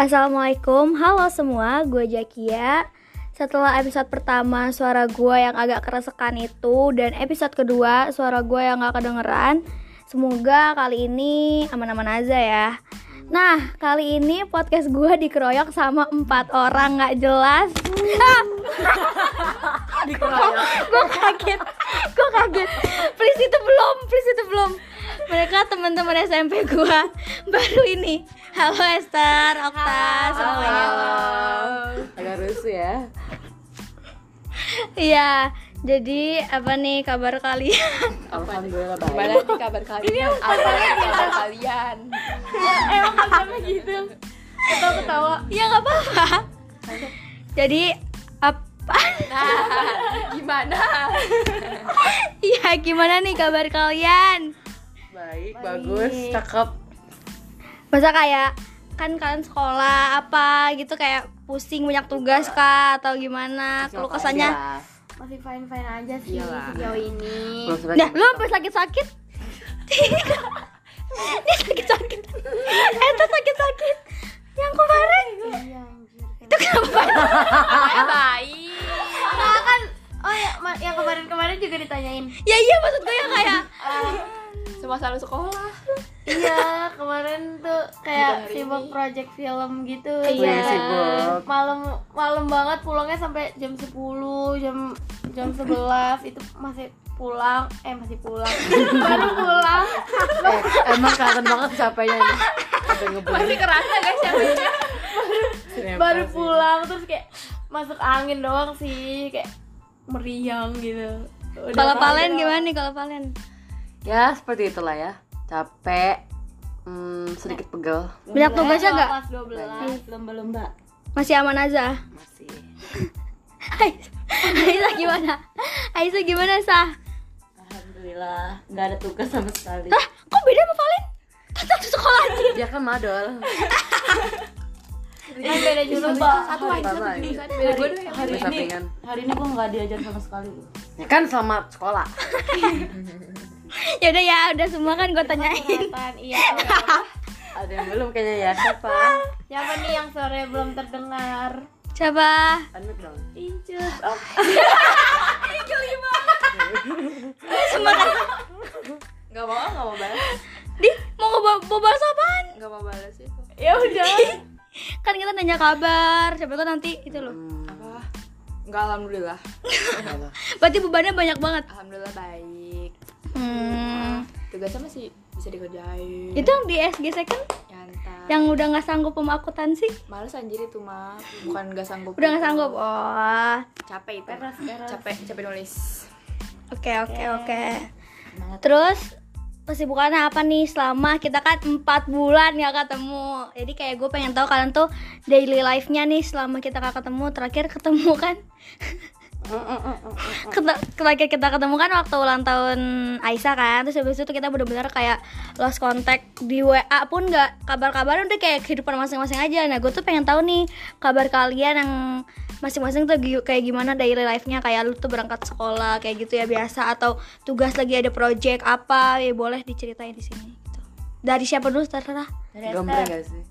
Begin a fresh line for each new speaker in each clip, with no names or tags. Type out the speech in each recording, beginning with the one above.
Assalamualaikum, halo semua, gue Jakia Setelah episode pertama suara gue yang agak keresekan itu Dan episode kedua suara gue yang gak kedengeran Semoga kali ini aman-aman aja ya Nah, kali ini podcast gue dikeroyok sama empat orang gak jelas
Ya
Gue kaget, gue kaget Please itu belum, please itu belum mereka teman-teman SMP gua baru ini. Halo Esther, Okta, semuanya.
Agak rusuh ya.
Iya, jadi apa nih kabar kalian?
Alhamdulillah
Gimana
baik.
nih kabar kalian? Apa nih kabar kalian?
ya nggak apa-apa. Jadi apa?
Nah, gimana?
Iya, gimana nih kabar kalian?
Baik, bagus, cakep.
Masa kayak kan kalian sekolah apa gitu kayak pusing banyak tugas kah atau gimana? Kalau kesannya,
masih fine fine aja sih
Iyalah.
sejauh ini
Belum sebaik-
nah lu sampai sakit-sakit? Tidak. Ini sakit-sakit. Eta sakit-sakit. Yang kemarin
iya anjir
itu kenapa?
Kayak baik.
nah kan oh ya ma- yang kemarin kemarin juga ditanyain "Ah,
Ya iya maksud gue yang kayak
Semua selalu sekolah.
iya kemarin tuh kayak
hari
sibuk
ini.
project film gitu
Iya.
Wih, sibuk.
malam malam banget pulangnya sampai jam 10 jam jam 11 itu masih pulang eh masih pulang baru pulang
Eh, emang kangen banget capeknya ini. Udah ngebut.
Masih kerasa guys yang
baru pulang terus kayak masuk angin doang sih kayak meriang gitu Udah
kalau Valen
banget.
gimana nih kalau Valen?
Ya, seperti itulah ya. Capek. Hmm, sedikit pegel.
Banyak tugasnya nggak?
kelas 12
lomba-lomba.
Masih aman aja.
Masih.
Aisyah Aisyah gimana? Aisyah gimana sah?
Alhamdulillah, nggak ada tugas sama sekali.
Lah, kok beda sama Valen? Kan satu sekolah aja.
Dia kan madol.
kan beda jurusan
Satu aja
Beda gue doang.
Hari ini.
hari ini gue nggak diajar sama sekali
Ya kan sama sekolah.
Ya udah ya, udah semua kan gue tanyain.
Perkataan iya
Ada yang belum kayaknya ya siapa?
siapa nih yang sore belum terdengar
Coba.
Unmute dong.
Ince
Semua kan.
Nggak mau, nggak mau balas.
Di, mau ngebawa bawa bahas apaan?
Nggak mau balas itu.
ya udah
Kan kita nanya kabar, siapa tahu nanti itu loh.
Apa? Nggak alhamdulillah.
Berarti bebannya banyak banget.
Alhamdulillah baik.
Hmm.
Tugasnya masih bisa dikerjain.
Itu yang di SG second
Nyantai.
yang udah nggak sanggup sama akuntansi,
Males anjir itu mah Bukan gak sanggup
udah nggak sanggup. Oh.
Capek itu Capek, capek nulis
Oke, oke, oke. Terus kesibukannya apa nih selama kita kan empat bulan ya ketemu jadi kayak gue pengen tahu kalian tuh daily life-nya nih selama kita gak ketemu terakhir ketemu kan Keta- terakhir kita ketemu kan waktu ulang tahun Aisyah kan terus habis itu kita bener-bener kayak lost contact di WA pun nggak kabar-kabaran udah kayak kehidupan masing-masing aja nah gue tuh pengen tahu nih kabar kalian yang masing-masing tuh gi- kayak gimana daily life-nya kayak lu tuh berangkat sekolah kayak gitu ya biasa atau tugas lagi ada project apa ya boleh diceritain di sini gitu. dari siapa dulu terserah
Gombreng gak sih?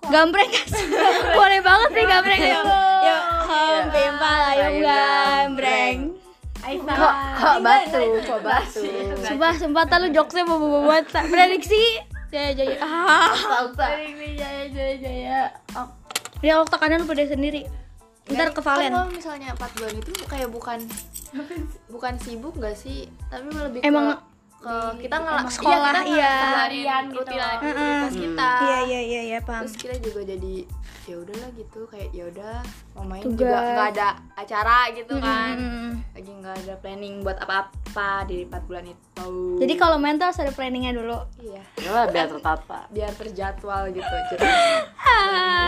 gambreng guys boleh banget nih gambreng yuk yuk home pimpal ayo
Ayo,
gambreng
Kok
Ah,
kok batu, kok batu.
sumpah sumpah tak lu jokesnya mau buat prediksi jaya jaya ah
Sering nih jaya jaya jaya oh,
dia waktu kanan lu pada sendiri ntar ke
Kan
Valen
kalau misalnya 4 bulan itu kayak bukan Bukan sibuk gak sih? Tapi malah lebih
Emang-
ke ke kita ngelak
Emang sekolah, iya.
harian
Harian gitu.
rutinitas
Mm-mm.
kita
iya iya iya iya paham
terus kita juga jadi ya udahlah gitu kayak ya udah mau main
Tugas.
juga nggak ada acara gitu kan
Mm-mm.
lagi nggak ada planning buat apa-apa di 4 bulan itu
jadi kalau main tuh harus ada planningnya dulu
iya
Ya lah biar tertata.
biar terjadwal gitu jadi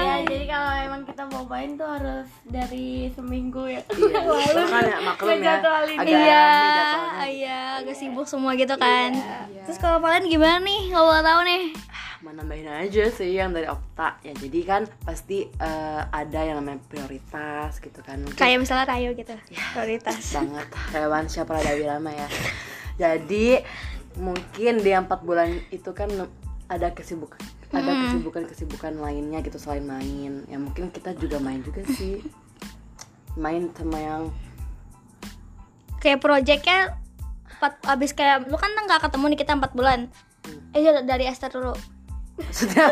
ya jadi kalau emang kita mau main tuh harus dari seminggu ya
Makanya Iya, maklum ya.
ngejadwalin.
Agak
iya
rame jadwalnya.
iya agak sibuk semua gitu kan terus kalau Valen gimana nih kalau boleh tahu nih
Mau nambahin aja sih yang dari Opta ya jadi kan pasti eh, ada yang namanya prioritas gitu kan Mungkin
kayak misalnya Rayo gitu prioritas
banget Rewan siapa ada Wirama ya jadi mungkin di empat bulan itu kan ada kesibukan ada kesibukan-kesibukan lainnya gitu selain main ya mungkin kita juga main juga sih main sama yang
kayak projectnya empat abis kayak lu kan nggak ketemu nih kita empat bulan eh dari- dari Esther dulu
Hmm. sudah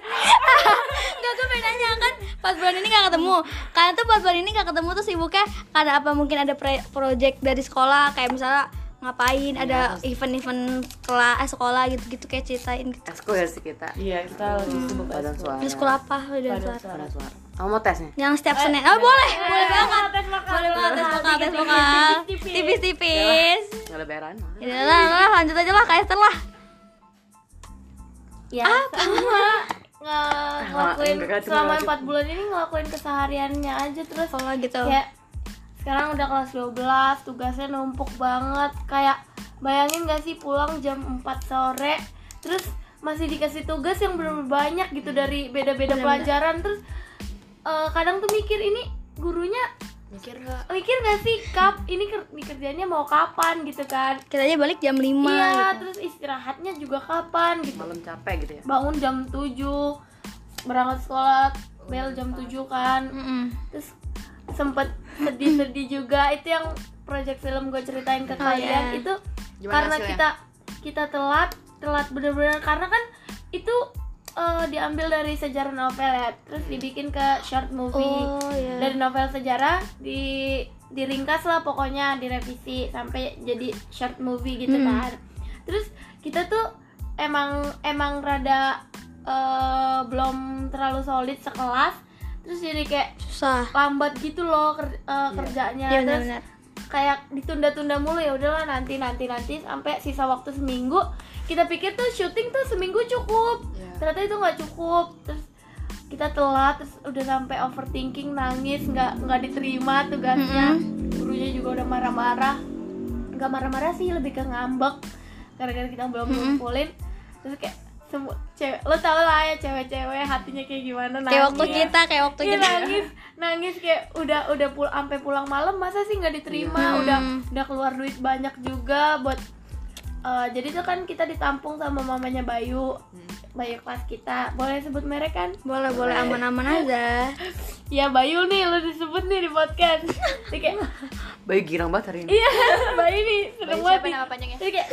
Enggak, gue pengen nanya kan Pas bulan ini gak ketemu Kalian tuh pas bulan ini gak ketemu tuh sibuknya Karena apa mungkin ada pre- project dari sekolah Kayak misalnya ngapain
Iya,
Ada event-event kelas eh, sekolah gitu-gitu Kayak ceritain gitu
esko ya sih kita
Iya, kita lagi sibuk
badan suara
Di sekolah apa? Udah suara.
badan suara kamu mau tes nih
Yang
Eh,
setiap Senin Oh boleh, boleh banget
Tes lokal.
Boleh banget tes vokal, tes vokal Tipis-tipis
nggak lebaran malah.
Ya lah, lah, lanjut aja lah Kak Esther lah
ya sama
Ah,
nge- ngelakuin
enggak, enggak,
selama
enggak.
4 bulan ini ngelakuin kesehariannya aja terus
Sekolah gitu
kayak sekarang udah kelas 12 tugasnya numpuk banget kayak bayangin gak sih pulang jam 4 sore terus masih dikasih tugas yang belum banyak gitu
Hmm.
dari beda-beda pelajaran terus eh, kadang tuh mikir ini gurunya
mikir nggak
mikir gak sih kap ini ker- ini kerjanya mau kapan gitu kan
Kita aja balik jam 5
iya
gitu
terus istirahatnya juga kapan gitu
malam capek gitu ya
bangun jam 7 berangkat sekolah bel jam 7 kan
Mm.
Mm-mm.
terus sempet sedih-sedih juga itu yang project film gue ceritain ke kalian itu
Oh, iya. Gimana
karena
hasilnya?
kita kita telat telat bener-bener karena kan itu eh, diambil dari sejarah novel ya terus dibikin ke short movie
Oh, iya.
dari novel sejarah di diringkas lah pokoknya direvisi sampai jadi short movie gitu
Hmm.
kan terus kita tuh emang emang rada eh, belum terlalu solid sekelas terus jadi kayak
Susah
lambat gitu loh ker- eh, kerjanya
Iya
Terus
benar-benar
kayak ditunda-tunda mulu ya udahlah nanti nanti nanti sampai sisa waktu seminggu kita pikir tuh syuting tuh seminggu cukup
Iya.
ternyata itu nggak cukup terus kita telat terus udah sampai overthinking nangis nggak nggak diterima tugasnya gurunya juga udah marah-marah nggak marah-marah sih lebih ke ngambek gara-gara kita belum ngumpulin terus kayak semua cewek lo tau lah ya cewek-cewek hatinya kayak gimana
Kayak waktu
nangis.
kita, kayak waktu
Iya
kita
nangis, nangis kayak udah udah pul sampai pulang malam masa sih nggak diterima, udah udah keluar duit banyak juga buat eh, jadi tuh kan kita ditampung sama mamanya Bayu, Bayu kelas kita, boleh sebut merek kan?
Boleh, boleh aman-aman aja
Ya Bayu nih, lo disebut nih di podcast. Dia kayak
bayu girang banget hari ini
iya Bayu nih seneng
Bayu
banget.
siapa
nih."
nama panjangnya?
Dia kayak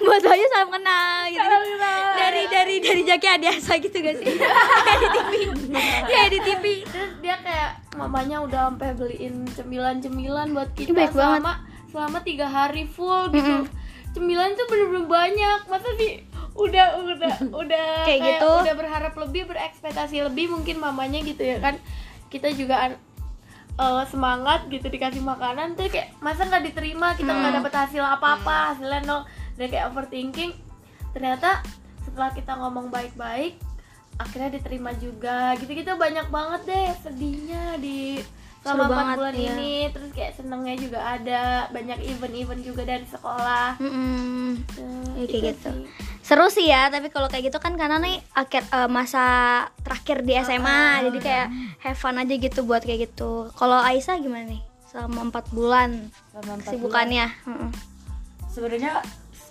buat Bayu salam kenal gitu
Salam kenal.
dari dari dari Jaki Adiasa gitu gak sih dari TV
Iya,
ya di TV
terus dia kayak mamanya udah sampai beliin cemilan-cemilan buat kita
Ih, baik banget.
selama selama tiga hari full gitu cemilan tuh bener-bener banyak masa sih udah udah udah
Kayak gitu.
udah berharap lebih berekspektasi lebih mungkin mamanya gitu ya kan kita juga an- eh, semangat gitu dikasih makanan tuh kayak masa nggak diterima kita nggak dapet hasil apa-apa hasilnya nol dan kayak overthinking ternyata setelah kita ngomong baik-baik akhirnya diterima juga gitu-gitu banyak banget deh sedihnya di
Seru
selama empat
banget,
bulan
iya.
ini terus kayak senengnya juga ada banyak event-event juga dari sekolah
Mm-mm.
Tuh,
Iya, kayak
itu
gitu.
sih.
seru sih ya tapi kalau kayak gitu kan karena nih akhir eh, masa terakhir di SMA jadi kayak have fun aja gitu buat kayak gitu kalau Aisyah gimana nih selama empat bulan
Selama empat bulan.
kesibukannya Mm-mm.
Sebenarnya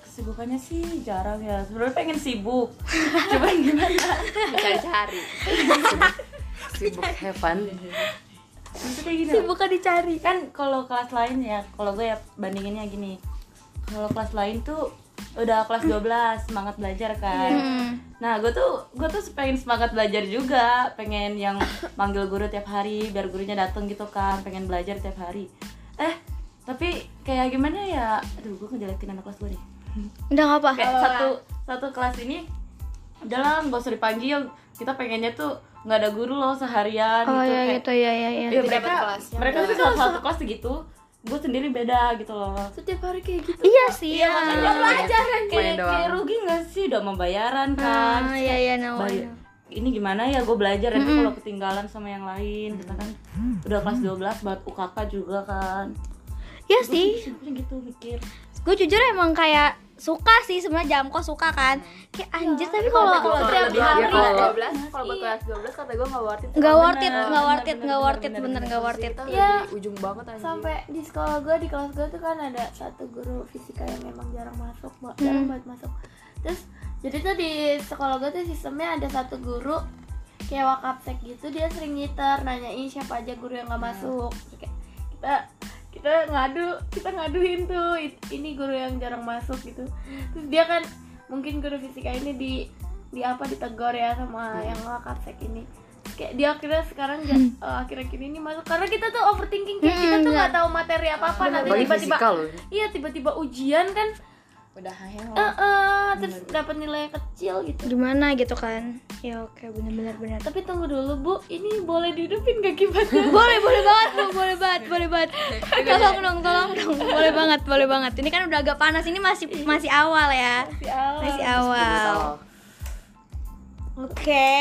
kesibukannya sih jarang ya. Sebenarnya pengen sibuk. Cuman gimana?
cari-cari
sibuk Heaven
Iya,
Maksudnya gini. loh.
sibuknya dicari
Kan kalau kelas lain ya, kalau gue ya bandinginnya gini. Kalau kelas lain tuh udah kelas 12 semangat belajar kan.
Iya.
Nah, gue tuh gue tuh pengen semangat belajar juga, pengen yang manggil guru tiap hari biar gurunya datang gitu kan, pengen belajar tiap hari. Eh, tapi kayak gimana ya? Aduh, gue ngejelekin anak kelas gue nih.
udah nggak apa
Kayak satu satu kelas ini udahlah nggak usah dipanggil. Kita pengennya tuh nggak ada guru loh seharian
oh
gitu
ya
kayak.
gitu ya ya ya
Iya,
Tapi
mereka
dapat kelasnya.
mereka tuh salah satu kelas gitu. Gue sendiri beda gitu loh.
Tuh, tiap hari kayak gitu
iya sih ya
Pelajaran
main
kayak,
doang.
kayak rugi nggak sih udah membayaran kan?
ah ya ya no, I
Bay-
know.
ini gimana ya gue belajar nanti kalau ketinggalan sama yang lain kita kan udah kelas 12 buat UKK juga kan
Iya sih
sebenarnya gitu mikir
gue jujur emang kayak suka sih sebenarnya jam kok suka kan kayak anjir tapi
kalau
kalau
tiap
berlebihan
hari
ya kalau-
12 kalau buat kelas 12 kata gue nggak worth it
nggak worth it
Bener,
nggak worth it
bener,
nggak worth it
bener,
bener nggak worth it
kita
Iya.
udah di ujung banget anjing
sampai di sekolah gue di kelas gue tuh kan ada satu guru fisika yang memang jarang masuk ma- jarang
Hmm.
banget masuk terus jadi tuh di sekolah gue tuh sistemnya ada satu guru kayak wakapsek gitu dia sering ngiter nanyain siapa aja guru yang nggak masuk Terus kayak, kita kita ngadu kita ngaduin tuh "It- ini guru yang jarang masuk gitu terus dia kan mungkin guru fisika ini di di apa ditegur ya sama yang wakapsek ini Terus kayak dia akhirnya sekarang ja- eh, akhirnya kini ini masuk karena kita tuh overthinking kayak kita tuh nggak tahu materi apa apa nanti
Apalagi
tiba-tiba
fisika loh.
iya tiba-tiba ujian kan
udah hanya
eh eh, terus dapat nilai kecil gitu
gimana gitu kan ya oke bener-bener bener
tapi tunggu dulu bu ini boleh dihidupin gak gimana
boleh boleh banget Bu. boleh banget boleh banget tolong dong tolong dong boleh banget boleh banget ini kan udah agak panas ini masih masih awal ya masih
Oh,
awal oke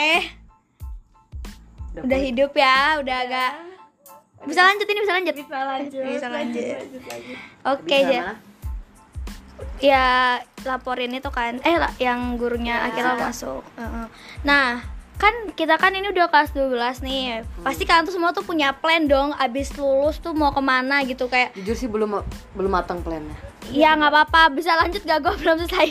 udah hidup ya udah agak bisa lanjut ini bisa lanjut bisa lanjut bisa lanjut oke aja ya laporin itu kan eh la- yang gurunya akhirnya masuk Heeh. nah kan kita kan ini udah kelas 12 nih pasti kalian tuh semua tuh punya plan dong abis lulus tuh mau kemana gitu kayak
Jujur sih belum belum matang plannya.
ya nggak apa-apa bisa lanjut gak gue belum selesai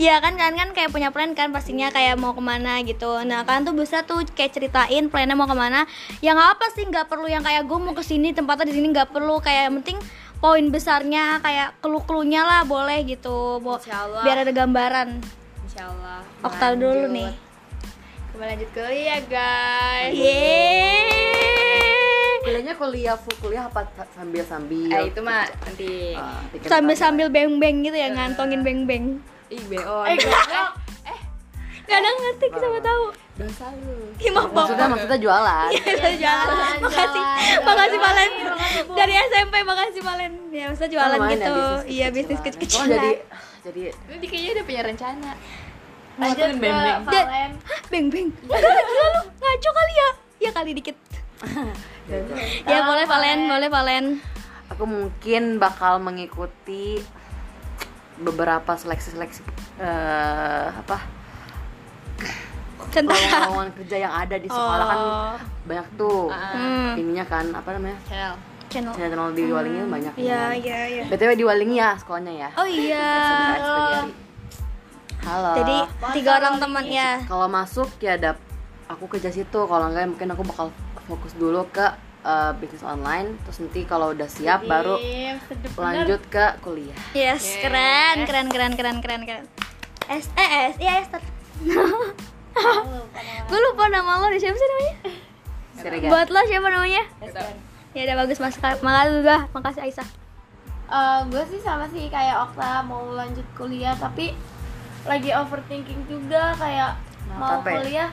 Ya kan kalian kan kayak punya plan kan pastinya kayak mau kemana gitu Nah kalian tuh bisa tuh kayak ceritain plannya mau kemana Ya nggak apa sih nggak perlu yang kayak gue mau kesini tempatnya di sini nggak perlu Kayak yang penting poin besarnya kayak kelu-kelunya lah boleh gitu Bo-
Insya Allah.
Biar ada gambaran
insyaallah
Oktal dulu nih
Kembali lanjut kuliah guys
Yeay
Kuliahnya kuliah full kuliah apa Ah, sambil sambil?
eh itu mah nanti
Sambil-sambil beng-beng gitu ya ngantongin beng-beng
ih BO
eh goblok.
Kadang ngerti sama tahu
dosa lu
Ih, maaf, maaf.
Maksudnya maksudnya jualan.
Kita jalan. Makasih. Makasih Valen. Dari SMP makasih Valen. Ya, maksudnya jualan
Lumayan ya,
gitu.
bisnis
Iya, bisnis
Cuma
kecil-kecilan.
jadi jadi
ini kayaknya udah punya rencana
lanjut ke Valen
Hah, Beng beng. Enggak gila lu. Ngaco kali ya. Ya kali dikit. ya boleh Valen, boleh Valen.
aku mungkin bakal mengikuti beberapa seleksi-seleksi eh, apa
Tentara.
lowongan kerja yang ada di sekolah kan
Oh.
banyak tuh
Hmm.
ininya kan apa namanya
Hell
Channel.
channel di Walingi banyak
Iya,
kan.
iya, iya.
btw di Walingi ya sekolahnya ya
Oh iya.
Sebentar, Spediari. halo Iya,
Jadi tiga orang teman
iya.
ya.
kalau masuk ya ada aku kerja situ kalau enggak ya mungkin aku bakal fokus dulu ke eh, bisnis online terus nanti kalau udah siap baru
Iya, sedep bener.
lanjut ke kuliah
Yes, keren, keren, keren, keren, keren, keren. S eh S, iya Esther. Gue lupa nama lo, siapa sih namanya?
Siregar.
Buat lo siapa namanya? Ya udah bagus mas, makasih udah, makasih Aisyah.
Eh, gue sih sama sih kayak Okta mau lanjut kuliah tapi lagi overthinking juga kayak mau
capek.
kuliah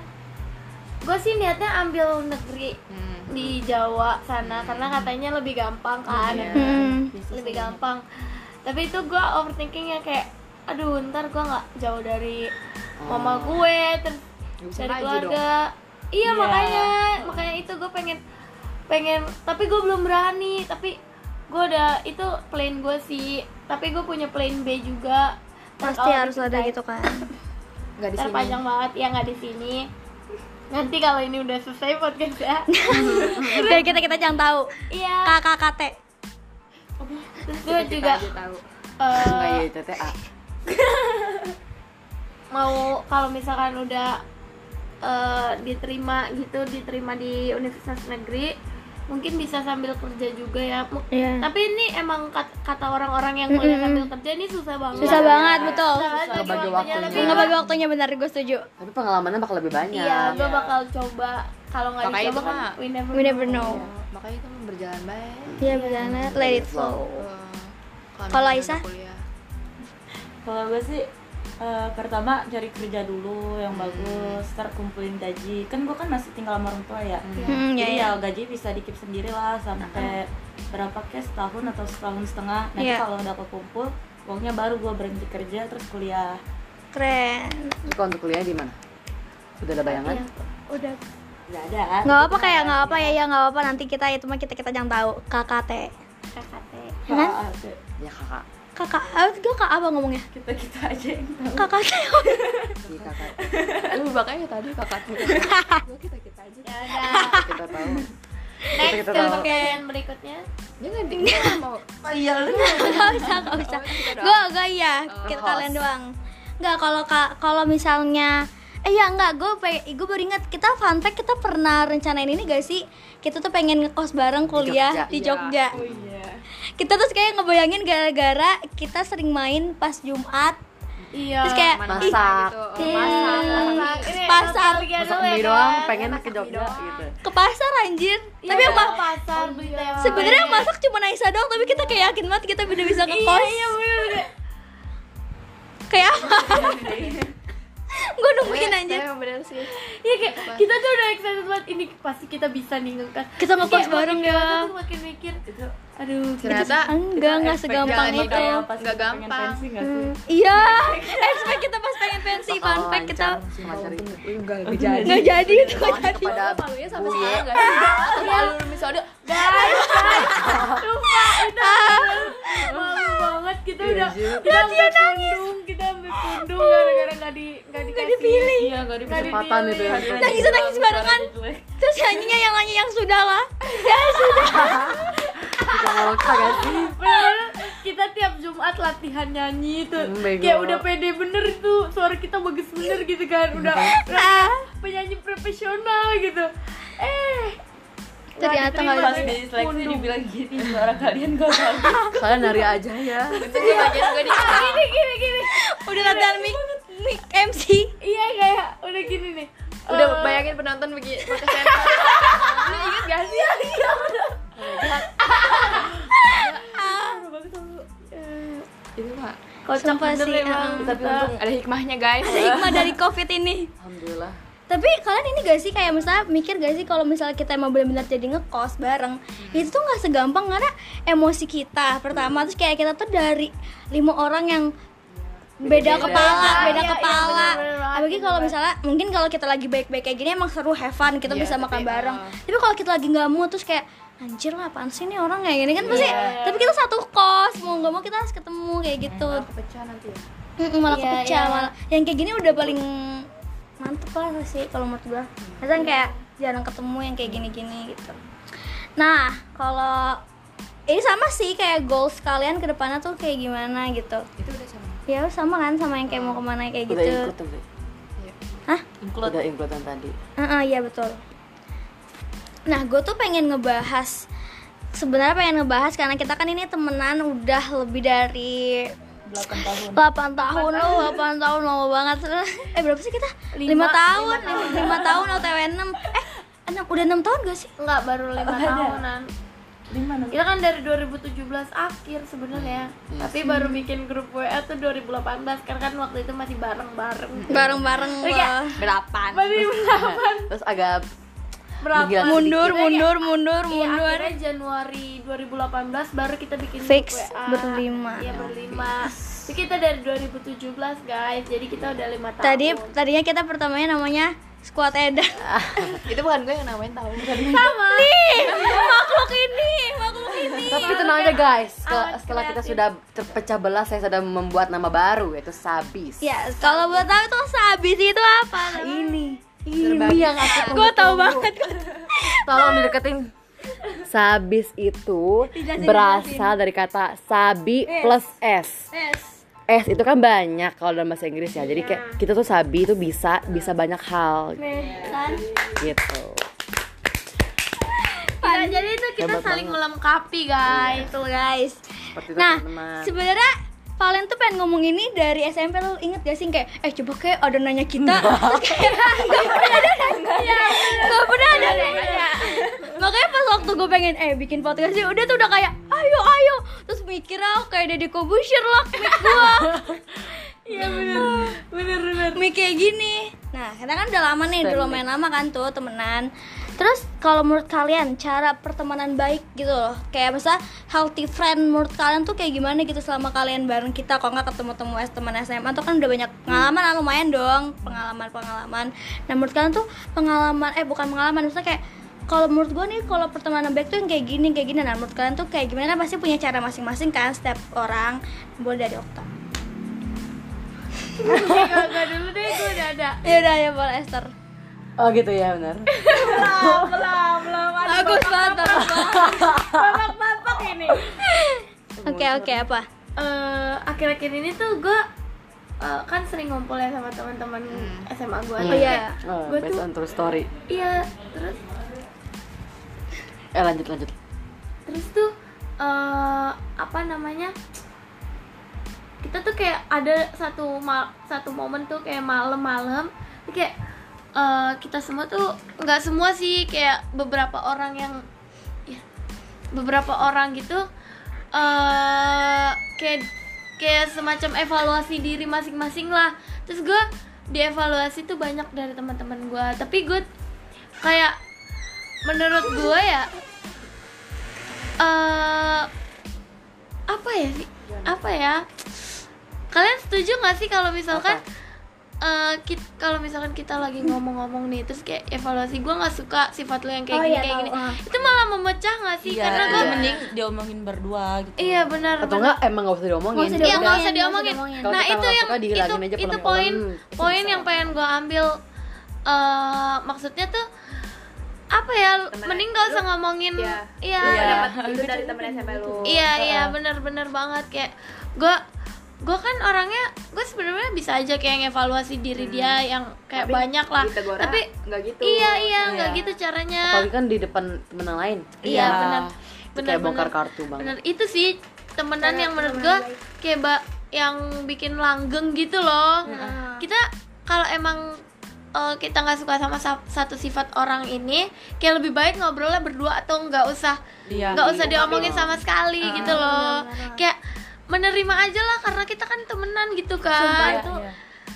gue sih niatnya ambil negeri
Hmm.
di Jawa sana karena katanya lebih gampang kan
Hmm.
lebih gampang tapi itu gue overthinking yang kayak aduh ntar gue nggak jauh dari
Oh.
mama gue terus dari
bisa maju
keluarga iya makanya makanya itu gue pengen pengen tapi gue belum berani tapi gue udah itu plan gue sih tapi gue punya plan B juga Ntar
Pasti
kalau
harus ada
diceritain-
gitu kan.
nggak di
ntar
sini
panjang banget ya nggak di sini nanti kalau ini udah selesai podcast ya
Biar kita kita jangan tahu.
Ah.
iya
KKKT.
terus gue juga
Aja tahu
eh,
Enggak ya TTA
mau kalau misalkan udah eh, diterima gitu diterima di universitas negeri mungkin bisa sambil kerja juga ya Mu-
Iya.
tapi ini emang kat- kata orang-orang yang kuliah sambil kerja ini susah banget
Susah banget betul.
Susah
Ngebagi
bagi waktunya,
waktunya.
tapi
Nggak bagi waktunya benar, gue setuju.
tapi pengalamannya bakal lebih banyak
iya gue bakal coba kalau nggak
Makanya
dicoba
itu
kan
mah-
we never,
We never know.
makanya itu mah berjalan baik
Iya benar, let it flow. Kalau
misalnya
Aisyah?
udah kuliah.
Kalau gue sih eh, pertama cari kerja dulu yang bagus, ntar kumpulin gaji. Kan gue kan masih tinggal sama orang tua ya.
Hmm, ya,
Jadi
ya.
ya gaji bisa dikip sendiri lah sampai berapa kayak setahun atau setahun setengah. Nanti
Iya.
kalau udah kekumpul uangnya baru gue berhenti kerja terus kuliah.
Keren.
Tapi kalau untuk kuliah di mana sudah ada bayangan
Udah.
Gak ada. kan?
Nggak apa kayak nggak apa ya, ya nggak apa nanti kita itu mah kita kita jangan tahu KKT.
KKT
Kan?
ada
Iya.
ya kakak
kakak eh, gue kak apa ngomongnya
kita kita aja yang tahu
kakak
ini Iya, kakak
Lu makanya tadi kakak kita kita kita aja.
ya udah
kita tahu
next
Kita tahu.
question berikutnya
Jangan di dia nggak mau.
oh iya lu
nggak bisa nggak bisa gue gue iya kita kalian doang nggak kalau ka- kalau misalnya eh ya nggak gue gue baru ingat kita fun fact kita pernah rencanain ini gak sih kita tuh pengen ngekos bareng kuliah
Jogja.
di Jogja,
Oh iya.
kita terus kayak ngebayangin gara-gara kita sering main pas Jumat
iya
terus kayak ih,
masak
Gitu.
Iya.
Masak, masak.
ini
pasar.
nostalgia
masak
dulu ya
mie
kan?
doang pengen
Masak
ke
mie
Jogja
doang.
gitu
ke pasar anjir tapi
Iya,
yang pa-
pasar beli teh
sebenarnya yang masak cuma Naisa doang tapi kita kayak yakin banget kita bisa
Iya,
bisa ngekos kayak apa gue nungguin anjir
Saya bener sih.
Iya kayak kita tuh udah excited banget ini pasti kita bisa nih ngekos.
Kita
Terus
ngekos
kayak makin
bareng ya.
dewasa tuh Makin mikir, aduh.
Ternyata
enggak enggak
Expect
segampang
jangan
itu
bakal pas
Nggak
kita pengen
gampang.
pensi nggak sih
iya expect kita pas pengen pensi fun
Oh,
fact kita
semacam itu
enggak
nggak jadi itu nggak jadi
kepada
Malunya sampai
Buye.
sekarang enggak sih? Atau malu misalnya
malu banget kita
Iya,
udah
Ju.
kita dia nangis kita ambil pundung gara-gara nggak di nggak dikasih
dipilih.
iya nggak dipilih
kesempatan itu ya
nangis nangis barengan terus nyanyinya yang nyanyi yang sudah lah ya sudah
kita mau kagak sih
Bener-bener kita tiap Jumat latihan nyanyi itu
Hmm, bego.
kayak udah pede bener itu suara kita bagus bener gitu kan udah
Ah,
penyanyi profesional gitu eh nggak
Ternyata nggak
diterima.
pas di seleksi dibilang gini suara kalian gak bagus
kalian nari aja ya
Jadi bagian gue di
gini gini gini
udah latihan mic mic MC
iya kayak udah gini nih
udah
Eh,
bayangin penonton begini pakai sensor. Lu inget gak sih? Iya. Itu Pak.
kocak
Sumpah
bener
sih,
emang
uh-uh.
Tapi untung ada hikmahnya guys.
stigma dari covid ini
alhamdulillah
tapi kalian ini gak sih kayak misalnya mikir gak sih kalau misalnya kita emang benar-benar jadi ngekos bareng
Hmm.
itu tuh nggak segampang karena emosi kita pertama terus kayak kita tuh dari lima orang yang beda kepala beda
Iya, iya,
kepala
bener-bener banget,
apalagi
bener
kalau
banget.
misalnya mungkin kalau kita lagi baik-baik kayak gini emang seru have fun kita
Iya,
bisa makan
tapi,
bareng
ah.
uh.
tapi kalau kita lagi nggak mood terus kayak anjir lah apaan sih nih orang kayak gini kan pasti
Iya.
tapi kita satu kos mau nggak mau kita harus ketemu kayak gitu
Pecah nanti ya.
Mm-mm, malah
Iya,
kepecah
iya.
malah yang kayak gini udah paling mantep lah sih kalau menurut gua
Iya.
Kadang kayak jarang ketemu yang kayak gini-gini gitu nah kalau ini sama sih kayak goals kalian ke depannya tuh kayak gimana gitu
Itu udah sama.
ya sama kan sama yang kayak mau kemana kayak
udah
gitu
ikut tuh Bi.
hah
include
udah include yang tadi
Ah, ah, iya betul. Nah, gue tuh pengen ngebahas sebenarnya pengen ngebahas karena kita kan ini temenan udah lebih dari
8 tahun
8 tahun loh, 8 tahun lama banget. Eh berapa sih kita? 5,
Lima,
tahun, 5, tahun OTW 6. Eh, 6 udah 6 tahun gak sih?
nggak baru lima tahunan
di mana
kita kan dari 2017 akhir sebenarnya tapi baru bikin grup WA tuh 2018 karena kan waktu itu masih bareng bareng
Bareng-bareng loh.
berapan
masih
terus agak
berapa
Menggila sedikit.
Mundur, mundur, mundur,
Iya,
mundur.
akhirnya Januari 2018 baru kita bikin
Fix,
grup WA.
berlima.
Iya berlima. Jadi kita dari 2017 guys, jadi kita udah lima tahun. Iya,
Tadi tadinya kita pertamanya namanya Squad Edan.
Itu bukan gue yang namain tahu.
Sama. Nih, makhluk ini, makhluk ini.
tapi tenang aja guys setelah,
Amat
setelah kita
kreatif.
sudah terpecah belah saya sudah membuat nama baru yaitu Sabis
Ya, kalau buat tahu tuh sabis itu apa?
ini ini yang aku
Gue tahu banget. gua tahu.
tolong dideketin Sabis itu
Dijelasin,
berasal dari kata sabi plus s. S itu kan banyak kalau dalam bahasa Inggris ya. Jadi kayak kita tuh sabi itu bisa bisa banyak hal
Kan?
gitu.
Kita- jadi itu kita
Hebat
saling
banget.
melengkapi guys.
Betul guys.
Seperti itu,
Nah,
teman-teman.
sebenarnya Valen tuh pengen ngomong ini dari SMP lo inget gak sih kayak eh coba kayak ada nanya kita terus kayak gak pernah ada nanya gak pernah ada nanya makanya pas waktu gue pengen eh bikin podcast sih udah tuh udah kayak ayo ayo terus mikir aku kayak Deddy Kobusher lah mic gue
Iya benar. Benar benar.
mic kayak gini nah kita kan udah lama nih udah lumayan lama kan tuh temenan terus kalau menurut kalian cara pertemanan baik gitu loh kayak misalnya healthy friend menurut kalian tuh kayak gimana gitu selama kalian bareng kita kok nggak ketemu temu es teman SMA tuh kan udah banyak pengalaman lah, lumayan dong pengalaman pengalaman nah menurut kalian tuh pengalaman eh bukan pengalaman maksudnya kayak kalau menurut gue nih kalau pertemanan baik tuh yang kayak gini kayak gini nah menurut kalian tuh kayak gimana pasti punya cara masing-masing kan setiap orang boleh dari Okta
Iya, Gak dulu deh gue udah ada
ya udah ya boleh Esther
Oh gitu ya benar.
bagus banget bagus banget.
Bapak-bapak ini
oke oke apa
Eh, akhir-akhir ini tuh gue eh, kan sering ngumpul ya sama teman-teman SMA gue
oh iya
Oh,
Gua
based
tuh-
on true story.
iya terus
Eh lanjut lanjut.
terus tuh eh apa namanya kita tuh kayak ada satu ma- satu momen tuh kayak malam-malam tuh kayak eh, kita semua tuh nggak semua sih kayak beberapa orang yang ya, beberapa orang gitu eh kayak kayak semacam evaluasi diri masing-masing lah terus gue dievaluasi tuh banyak dari teman-teman gue tapi gue kayak menurut gue ya eh apa ya sih? Apa ya? Kalian setuju nggak sih kalau misalkan eh kit- kalau misalkan kita lagi ngomong-ngomong nih terus kayak evaluasi gue nggak suka sifat lo yang kayak
Oh,
gini
iya,
kayak
tahu,
gini
ah.
itu malah memecah nggak sih
Iya,
karena gue
iya, mending diomongin berdua
Eh,
gitu.
iya benar
Atau
benar.
enggak emang gak usah diomongin.
Nggak usah
Iya
diomongin,
nggak usah
nggak usah
diomongin.
diomongin.
Kalau
Nah
kita
itu
nggak
yang
suka,
itu
dihilangin aja
itu
pelan-pelan.
poin
Pasti
poin yang pengen gue ambil eh maksudnya tuh apa ya mending gak usah ngomongin
Iya.
iya
Lu dapat itu dari temen SMP lu.
Iya iya bener-bener banget kayak gue gue kan orangnya gue sebenarnya bisa aja kayak ngevaluasi diri dia yang kayak
Hmm. Tapi
banyak lah
ditegora
tapi
nggak gitu.
iya iya
Iya.
nggak gitu caranya
Apalagi kan di depan temen yang lain.
iya
Iya.
benar
Itu
benar
kayak bongkar
benar.
kartu banget.
benar itu sih temenan yang menurut gue kayak ba- yang bikin langgeng gitu loh kita kalau emang eh, kita nggak suka sama sa- satu sifat orang ini kayak lebih baik ngobrolnya berdua atau nggak usah
Iya,
nggak usah diomongin sama sekali gitu loh kayak menerima aja lah karena kita kan temenan gitu
Sumpah
ya.
kan
itu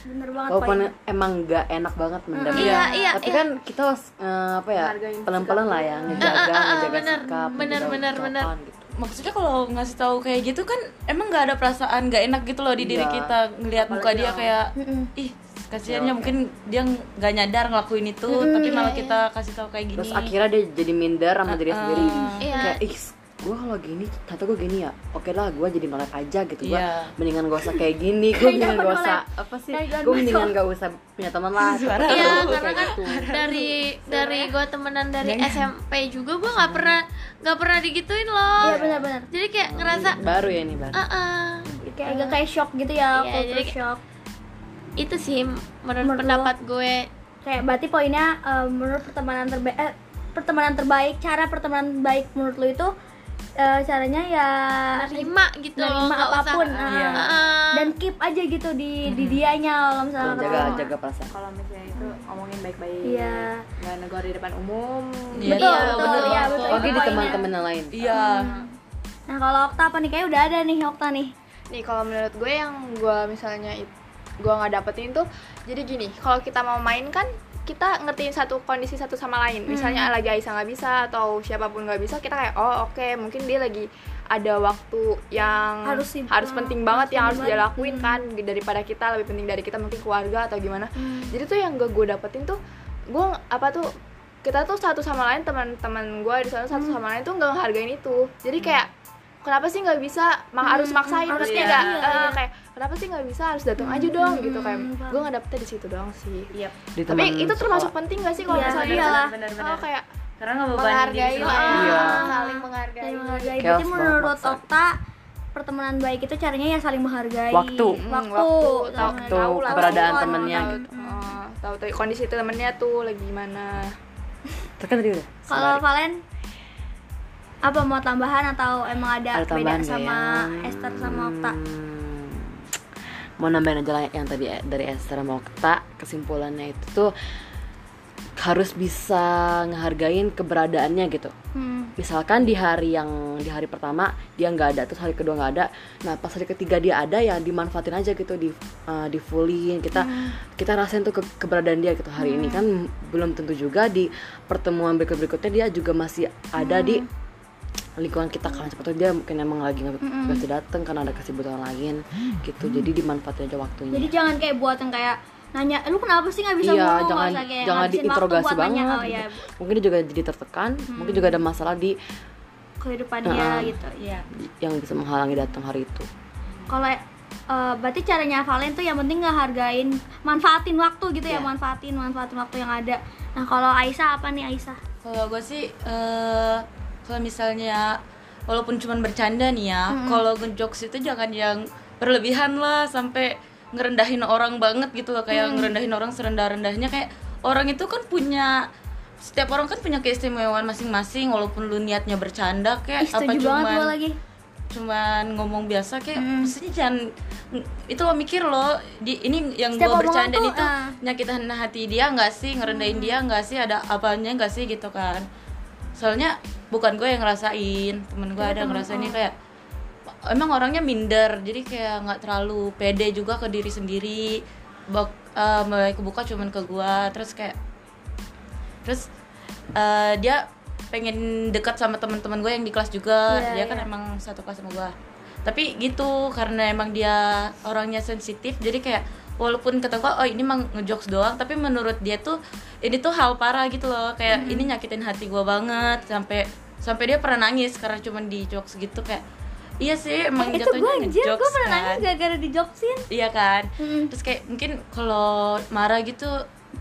bener banget
Walaupun
poinnya.
emang gak enak banget mendam.
Iya, iya,
Tapi
iya.
kan kita harus eh, apa ya?
Menghargain
Pelan-pelan lah ya ngejaga,
Eh, eh, eh,
ngejaga
bener,
sikap,
bener,
ngejaga
bener, bener.
ucapan gitu.
Maksudnya kalau ngasih tahu kayak gitu kan emang nggak ada perasaan nggak enak gitu loh di
Iya.
diri
Ya,
kita ngelihat muka dia kayak ih kasihannya mungkin dia nggak nyadar ngelakuin itu tapi malah kita kasih tahu kayak gini.
Terus akhirnya dia jadi minder sama diri sendiri.
Iya.
Kayak ih gue kalau gini ternyata gue gini ya oke lah gue jadi nolak aja gitu gue
Iya.
mendingan gak usah kayak gini gue mendingan gak usah apa sih gue mendingan gak usah punya teman lah
Suara.
Iya,
Kayak
karena kan
gitu.
dari dari gue temenan dari SMP juga gue nggak pernah nggak pernah digituin loh
iya benar-benar
jadi kayak ngerasa
baru ya ini baru
"Ah, ah."
kayak agak kayak shock gitu ya
Iya,
culture
jadi-
shock
itu sih menurut,
Menurut
pendapat gue
kayak berarti poinnya eh, menurut pertemanan terbaik pertemanan terbaik cara pertemanan baik menurut lu itu eh, caranya ya
terima gitu loh
nerima
nggak usah
apapun ah.
Iya.
Ah,
dan keep aja gitu di di dianya kalau misalnya
jaga
ketemu.
jaga perasaan
Kalau misalnya itu ngomongin baik-baik.
Iya.
Nggak negor di depan umum.
Iya,
betul,
iya,
betul,
bener,
iya,
betul.
betul. itu
apalagi di
poinnya.
teman-teman yang lain
Iya.
nah kalau Okta apa nih kayak udah ada nih Okta nih
Nih kalau menurut gue yang gue misalnya it- gue nggak dapetin tuh jadi gini kalau kita mau main kan kita ngertiin satu kondisi satu sama
Hmm.
lain misalnya lagi Aisyah nggak bisa atau siapapun nggak bisa kita kayak oh oke mungkin dia lagi ada waktu yang
Harus sibuk.
penting banget yang harus
penting
dia
banget. Hmm.
lakuin kan daripada kita lebih penting dari kita mungkin keluarga atau gimana jadi tuh yang gue gue dapetin tuh gue apa tuh kita tuh satu sama lain teman-teman gue di sana satu
Hmm.
sama lain tuh nggak ngehargain itu jadi kayak kenapa sih nggak bisa ma- harus maksain
harus
Hmm, harus
kayak
tidak
gini,
eh, kayak kenapa sih nggak bisa harus datang aja dong gitu kayak gue nggak dapetnya di situ doang sih
Iya.
di
tapi
teman
itu termasuk penting gak sih kalau
Iya,
misalnya
iya.
kita-
Benar-benar.
oh, kayak
Karena nggak
menghargai lah,
Iya.
saling menghargai
dari menghargai
Chaos
berarti
banget
menurut
maksudnya.
Okta pertemanan baik itu caranya ya saling menghargai
Waktu.
waktu Nah,
Mm,
waktu,
tahu-
Sama-
Waktu,
tahu lah,
keberadaan
tahu lah,
temennya
tahu-
gitu.
eh, tahu tahu kondisi temennya tuh lagi gimana
Terus kan tadi udah
Kalau Valen apa mau tambahan atau emang ada,
Ada tambahan
beda
nggak
sama
ya?
Esther sama Okta?
Hmm. mau nambahin aja lah yang tadi eh, dari Esther sama Okta kesimpulannya itu tuh harus bisa ngehargain keberadaannya gitu
Hmm.
misalkan di hari yang di hari pertama dia nggak ada terus hari kedua nggak ada nah pas hari ketiga dia ada ya dimanfaatin aja gitu di uh, di fullin kita
Hmm.
kita rasain tuh ke- keberadaan dia gitu hari ini kan belum tentu juga di pertemuan berikut berikutnya dia juga masih ada di
Hmm.
lingkungan kita kan sepatu dia mungkin emang lagi nggak kan,
Hmm.
nggak datang karena ada kesibukan lain gitu jadi dimanfaatin aja waktunya
Jadi jangan kayak buat yang kayak nanya lu kenapa sih nggak bisa
iya
mulu
jangan
Nggak usah kayak ngabisin
jangan
waktu
diinterogasi
buat nanya.
banget
oh Hmm.
gitu.
ya
mungkin dia juga jadi tertekan mungkin juga ada masalah di
kehidupan dia
Heeh.
gitu iya
yang bisa menghalangi datang hari itu
kalau eh, berarti caranya hafalin tuh yang penting ngehargain manfaatin waktu gitu ya
Iya.
manfaatin manfaatin waktu yang ada nah kalau Aisyah apa nih Aisyah
Kalau gue sih eh kalau misalnya walaupun cuman bercanda nih ya, kalau ngejokes itu jangan yang berlebihan lah sampai ngerendahin orang banget gitu loh kayak ngerendahin orang serendah-rendahnya kayak orang itu kan punya setiap orang kan punya keistimewaan masing-masing walaupun lu niatnya bercanda kayak
Ih,
Eh, apa
setuju banget
cuman
gue lagi
cuman ngomong biasa kayak
Hmm.
maksudnya jangan itu lo mikir lo di ini yang
Setiap
gua
omongan
bercanda
tuh,
itu
ah. Hmm.
nyakitin hati dia nggak sih ngerendahin dia nggak sih ada apanya nggak sih gitu kan soalnya bukan gue yang ngerasain temen
Iya,
gue ada ngerasainnya kayak emang orangnya minder jadi kayak nggak terlalu pede juga ke diri sendiri bak eh, mulai kebuka cuman ke gue terus kayak terus eh, dia pengen dekat sama teman-teman gue yang di kelas juga
Iya,
dia kan
iya.
emang satu kelas sama gue tapi gitu karena emang dia orangnya sensitif jadi kayak walaupun kata gue oh ini emang ngejokes doang tapi menurut dia tuh ini tuh hal parah gitu loh kayak ini nyakitin hati gue banget sampai sampai dia pernah nangis karena cuman di jokes gitu kayak iya sih emang
Eh, itu gue
jatuhnya
anjir gue
ngejokes
pernah nangis
kan."
gara-gara dijoksin
iya kan
Mm-mm.
terus kayak mungkin kalau marah gitu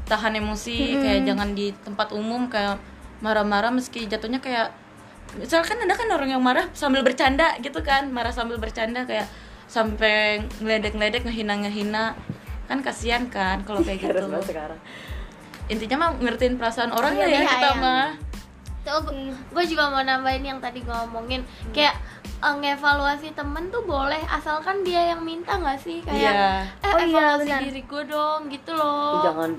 tahan emosi kayak jangan di tempat umum kayak marah-marah meski jatuhnya kayak misalkan ada kan orang yang marah sambil bercanda gitu kan marah sambil bercanda kayak sampai ngeledek-ngeledek ngehina-ngehina kan kasihan kan kalau kayak gitu
sekarang
intinya mah ngertiin perasaan orang
Iya,
lah ya
iya,
kita
iya.
mah
Tuh, gue juga mau nambahin yang tadi gue ngomongin kayak eh, ngevaluasi temen tuh boleh asalkan dia yang minta nggak sih
Iya.
kayak eh
Oh iya,
evaluasi
benar.
diri gue dong gitu loh
jangan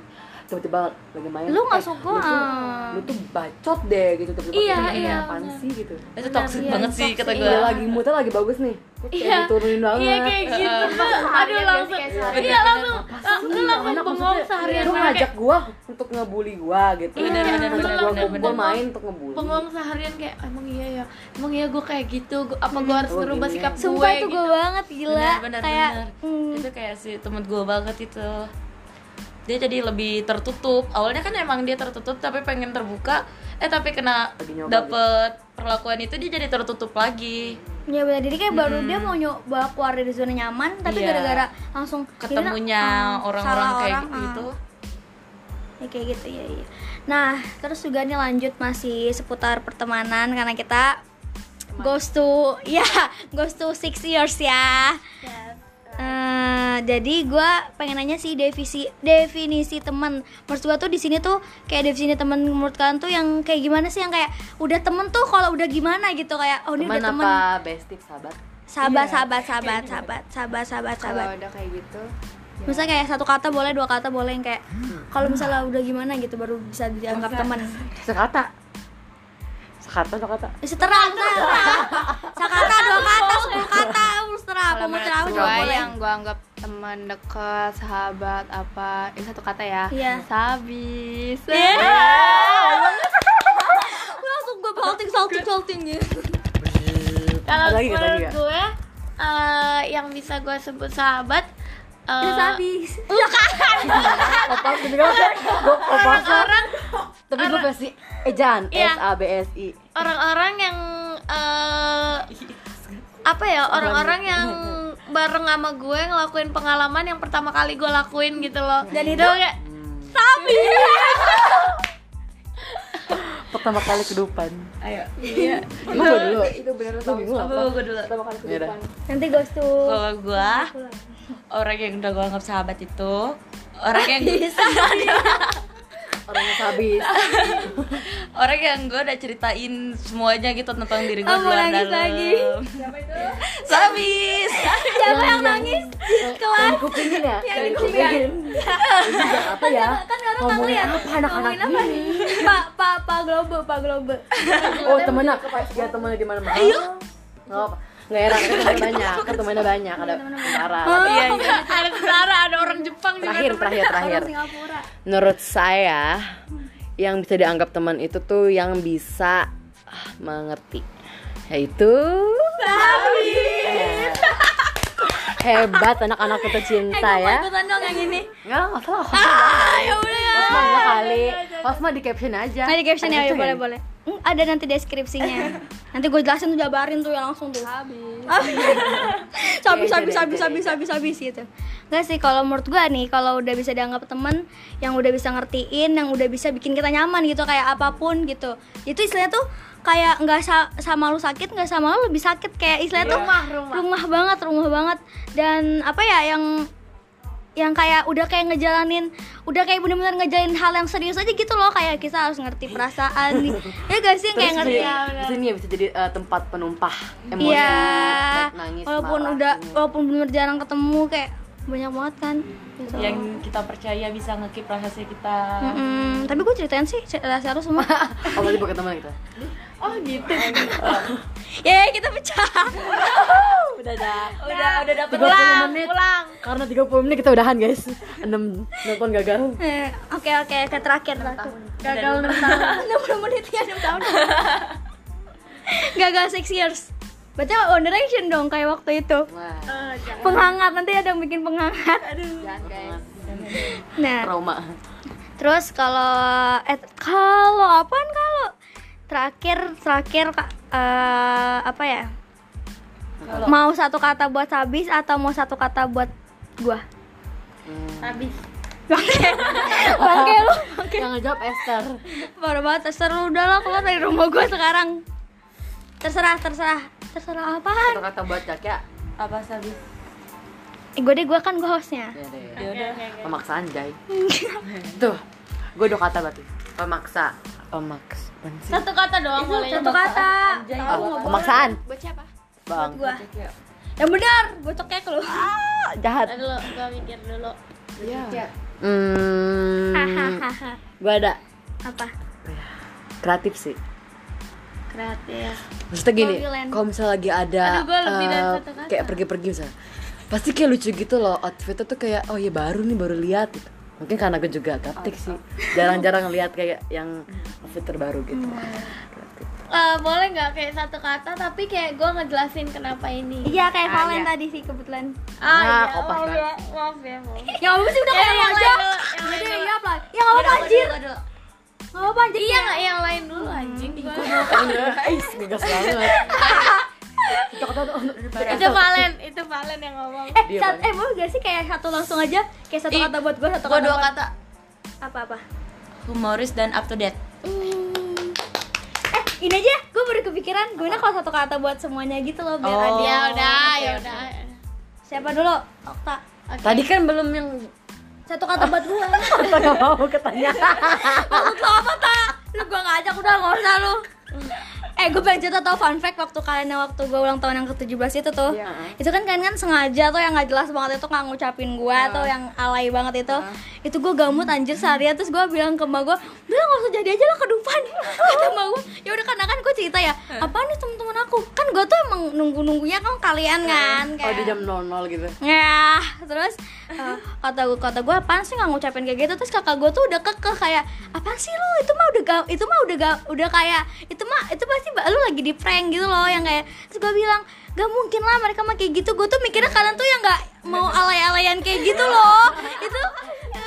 tiba-tiba lagi main
Lu nggak
eh,
suka,
lu tuh,
ah.
lu tuh bacot deh gitu tiba-tiba
Iya,
kayak gini,
iya,
apaan
benar.
sih gitu
itu toxic
iya,
banget sih
toxic,
kata gue
Udah lagi moodnya lagi bagus nih Lu kayak
Iya.
diturunin banget
iya kayak gitu aduh
Seharian
langsung
biasa kayak seharian.
iya langsung
Lu
langsung bengong seharian
lu
banget,
ngajak gua untuk ngebully gua gitu
Iya, Benar, benar,
Ngajak
benar,
gua-
benar,
gua
benar.
main untuk ngebully
bengong seharian kayak emang iya ya emang iya gue kayak gitu Gua- apa gue harus
Oh,
merubah
gini.
sikap
sumpah
gue
itu
gitu
gue banget gila
benar benar
kayak
benar
mm,
itu kayak si temen gue banget itu dia jadi lebih tertutup awalnya kan emang dia tertutup tapi pengen terbuka eh tapi kena
Lagi nyoba
dapet perlakuan itu dia jadi tertutup lagi
ya benar jadi kayak baru dia mau nyoba keluar dari zona nyaman tapi
Iya.
gara-gara langsung
ketemunya
jadinya, mm,
orang-orang
salah
kayak
orang, mm.
gitu
Ya, kayak gitu ya iya. Nah, terus juga nih lanjut masih seputar pertemanan karena kita goes to ya goes to six years ya. Eh, jadi gua pengen nanya sih definisi definisi teman. Maksud gua tuh di sini tuh kayak definisi teman menurut kalian tuh yang kayak gimana sih yang kayak udah temen tuh kalau udah gimana gitu kayak oh ini
teman
udah temen
apa bestie sahabat
sahabat sahabat sahabat sahabat sahabat sahabat sahabat.
kalau udah kayak gitu
Misalnya kayak satu kata boleh, dua kata boleh yang kayak kalau misalnya udah gimana gitu baru bisa dianggap teman.
sekata sekata sekata
Eh, Setera, setera. Sekata, dua kata, sepuluh kata, um, setera, apa mau cerah apa juga
gue
boleh.
yang gue anggap teman dekat sahabat apa ini satu kata ya
Iya.
sabis
Langsung gue salting, salting, salting gitu.
Ada
kalau
lagi nggak
menurut
tadi ya?
gue eh, yang bisa gue sebut sahabat eh,
Terus habis.
opas gitu kan gue opas
orang
tapi gue pasti ejaan
Iya.
S A B S I
orang-orang yang eh, apa ya orang-orang yang bareng sama gue ngelakuin pengalaman yang pertama kali gue lakuin gitu loh dan itu kayak
pertama kali kedupan
ayo
Iya.
Iya.
lu gua dulu itu beneran tau
Apa gua dulu?
pertama kali kedupan
Nanti gue tuh.
kalau gue orang yang udah gue anggap sahabat itu orang yang
orangnya habis
orang yang gue udah ceritain semuanya gitu tentang diri gue
Oh, mau
luar
nangis
dalam
lagi.
siapa itu sabis
Siapa yang nangis?
yang dikupingin ya
Iya,
yang dikupingin Ini apa ya
Kan orang tak
ngomongin
lihat.
apa anak-anak
Ngomongin apa
ini?
nih? Pak, pak, pak Globe, pak Globe.
oh temennya ya temennya di mana-mana ayo nggak apa nggak heran kan temennya banyak kan temennya banyak ada Tara
iya iya
ada tentara ada orang Jepang juga
terakhir terakhir terakhir
Orang Singapura.
menurut saya yang bisa dianggap teman itu tuh yang bisa ah, mengerti yaitu hebat anak-anak tercinta ya
ikutan dong yang ini
nggak lah, nggak salah
ya udah ya
Osma nggak kali Osma di caption aja
Nah di caption ya,
Ada
ya
itu
boleh boleh. Hmm, ada nanti deskripsinya. nanti gue jelasin tuh jabarin tuh ya langsung tuh. Habis. habis
Iya,
habis
iya,
habis
iya,
habis habis habis gitu. Enggak sih kalau menurut gue nih kalau udah bisa dianggap temen yang udah bisa ngertiin, yang udah bisa bikin kita nyaman gitu kayak apapun gitu. Itu istilahnya tuh kayak nggak sa- sama lu sakit nggak sama lu lebih sakit kayak istilahnya tuh
Rumah, rumah.
rumah banget rumah banget dan apa ya yang yang kayak udah kayak ngejalanin udah kayak bener-bener ngejalanin hal yang serius aja gitu loh kayak kita harus ngerti perasaan nih ya gak sih kayak ngerti
jadi, terus ini ya bisa jadi eh, tempat penumpah emosi
iya
baik nangis
walaupun
marah, gitu.
udah
ini.
walaupun bener jarang ketemu kayak banyak banget kan gitu.
yang kita percaya bisa ngekip rahasia kita
Nah.
Mm-mm. tapi gue ceritain sih rahasia lu semua
oh berarti pakai teman gitu
Oh gitu.
ya kita pecah
udah dah
udah udah dapet
30 menit karena 30 menit kita udahan guys 6 nonton gagal
Eh, oke oke ke terakhir lah
Gagal menang.
60 menit ya 6 tahun gagal 6 years berarti One Direction dong kayak waktu itu
Wah,
penghangat nanti ada yang bikin penghangat nah
trauma
terus kalau eh kalau apaan kalau terakhir terakhir kak eh, apa ya mau satu kata buat habis atau mau satu kata buat gua
Habis.
bangke bangke lu bangke
yang ngejawab Esther
parah banget terserah udah lah keluar dari rumah gua sekarang terserah terserah terserah apaan
satu kata buat Jaka
apa sabis
eh, gue deh gua kan gua hostnya
ya deh
ya udah
pemaksaan Jai tuh gue dua kata berarti pemaksa pemaks apaan sih?
Satu kata doang boleh.
satu kata
Ah, pemaksaan
buat siapa
bang
gua yang benar bocoknya lu
Ah, jahat
Ntar dulu, gua mikir dulu.
hmm,
hahaha
gue ada
apa
kreatif sih
kreatif
maksudnya gini
Turbulent.
kalau misalnya lagi ada
Aduh, gua lebih dari
eh,
satu kata.
kayak pergi-pergi misalnya pasti kayak lucu gitu loh outfitnya tuh kayak oh ya baru nih baru lihat gitu mungkin karena gue juga gaptek sih jarang-jarang lihat kayak yang outfit terbaru gitu Kreatif.
Eh, boleh nggak kayak satu kata tapi kayak gua ngejelasin kenapa ini.
iya kayak
Ah,
Valen
iya.
tadi sih kebetulan
Nah,
Ah, iya.
kopas
Maaf
banget.
ya, maaf ya, maaf.
ya kamu sih udah
Ya,
kayak
yang
aja
lain dulu, yang
Udah,
lain dulu.
iya apa ya nggak apa-apa anjir
Gua dulu.
nggak apa-apa anjir
Iya nggak yang lain dulu anjing.
Guys, gegas banget Kita kata tuh,
Itu Valen, itu Valen yang ngomong.
eh
Dia
sat-
banyak.
eh boleh gak sih kayak satu langsung aja kayak satu
Ih,
kata buat gua satu
gua
kata
dua
buat-
kata
apa apa
humoris dan up to date
eh ini aja gua baru kepikiran gue kalau satu kata buat semuanya gitu loh biar
Oh.
adil
Ya udah, ya udah.
siapa dulu Okta
Tadi kan belum yang
satu kata buat gua
Kita gak mau ketanya
Maksud lo apa tak? Lu gue ngajak udah nggak usah lu Eh gue pengen cerita tau fun fact waktu kalian yang waktu gue ulang tahun yang ke-17 itu tuh
Iya.
Itu kan kalian kan sengaja tuh yang gak jelas banget itu nggak ngucapin gue
Iya.
tuh yang alay banget itu Itu gue gamut anjir seharian terus gue bilang ke mbak gue Udah gak usah jadi aja lo ke depan Kata mbak gue ya udah karena kan gue cerita ya
Iya.
Apaan nih temen-temen aku? Kan gue tuh emang nunggu-nunggunya kan kalian kan
Oh,
kayak-
di jam 00 gitu
ya terus eh, kata gue kata gue apaan sih nggak ngucapin kayak gitu terus kakak gue tuh udah kekeh kayak apa sih lu itu mah udah ga- itu mah udah ga- udah kayak itu mah itu pasti ba- lu lagi di prank gitu loh yang kayak terus gue bilang gak mungkin lah mereka mah kayak gitu gue tuh mikirnya kalian tuh yang nggak mau alay-alayan kayak gitu loh itu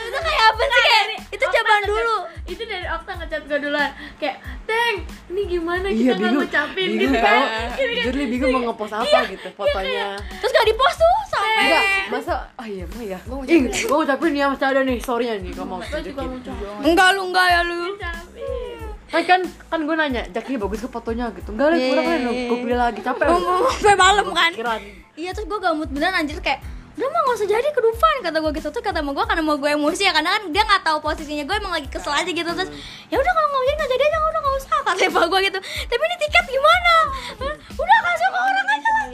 itu kayak apa sih kayak itu cobaan dulu
Itu dari Okta ngechat gua duluan. Kayak, "Teng, ini gimana
Iya,
kita nggak
bingung
ngucapin
Bingung Oh. tau
gitu kan?" Iya, Gitu kan.
Jujur nih bingung mau ngepost apa gitu fotonya
terus gak dipost tuh sampai
Enggak, masa ah iya mah ya. Ih, gua ngucapin ya masih ada nih sorry nih gua mau
Gua juga mau
tunjukin.
coba.
enggak lu enggak ya lu
Ngucapin.
Kan kan kan gua nanya, Jack ini bagus ke fotonya gitu. Enggak lah, kurang lah gua beli lagi capek.
ngomong sampai malam kan
Pikiran.
Iya terus gue gamut beneran anjir kayak udah mah gak usah jadi ke Dufan kata gue gitu tuh kata sama gue karena mau gue emosi ya karena kan dia nggak tahu posisinya gue emang lagi kesel aja gitu terus ya udah kalau nggak jadi nggak jadi aja udah nggak usah kata ibu gue gitu tapi ini tiket gimana Eh, udah kasih ke orang aja lah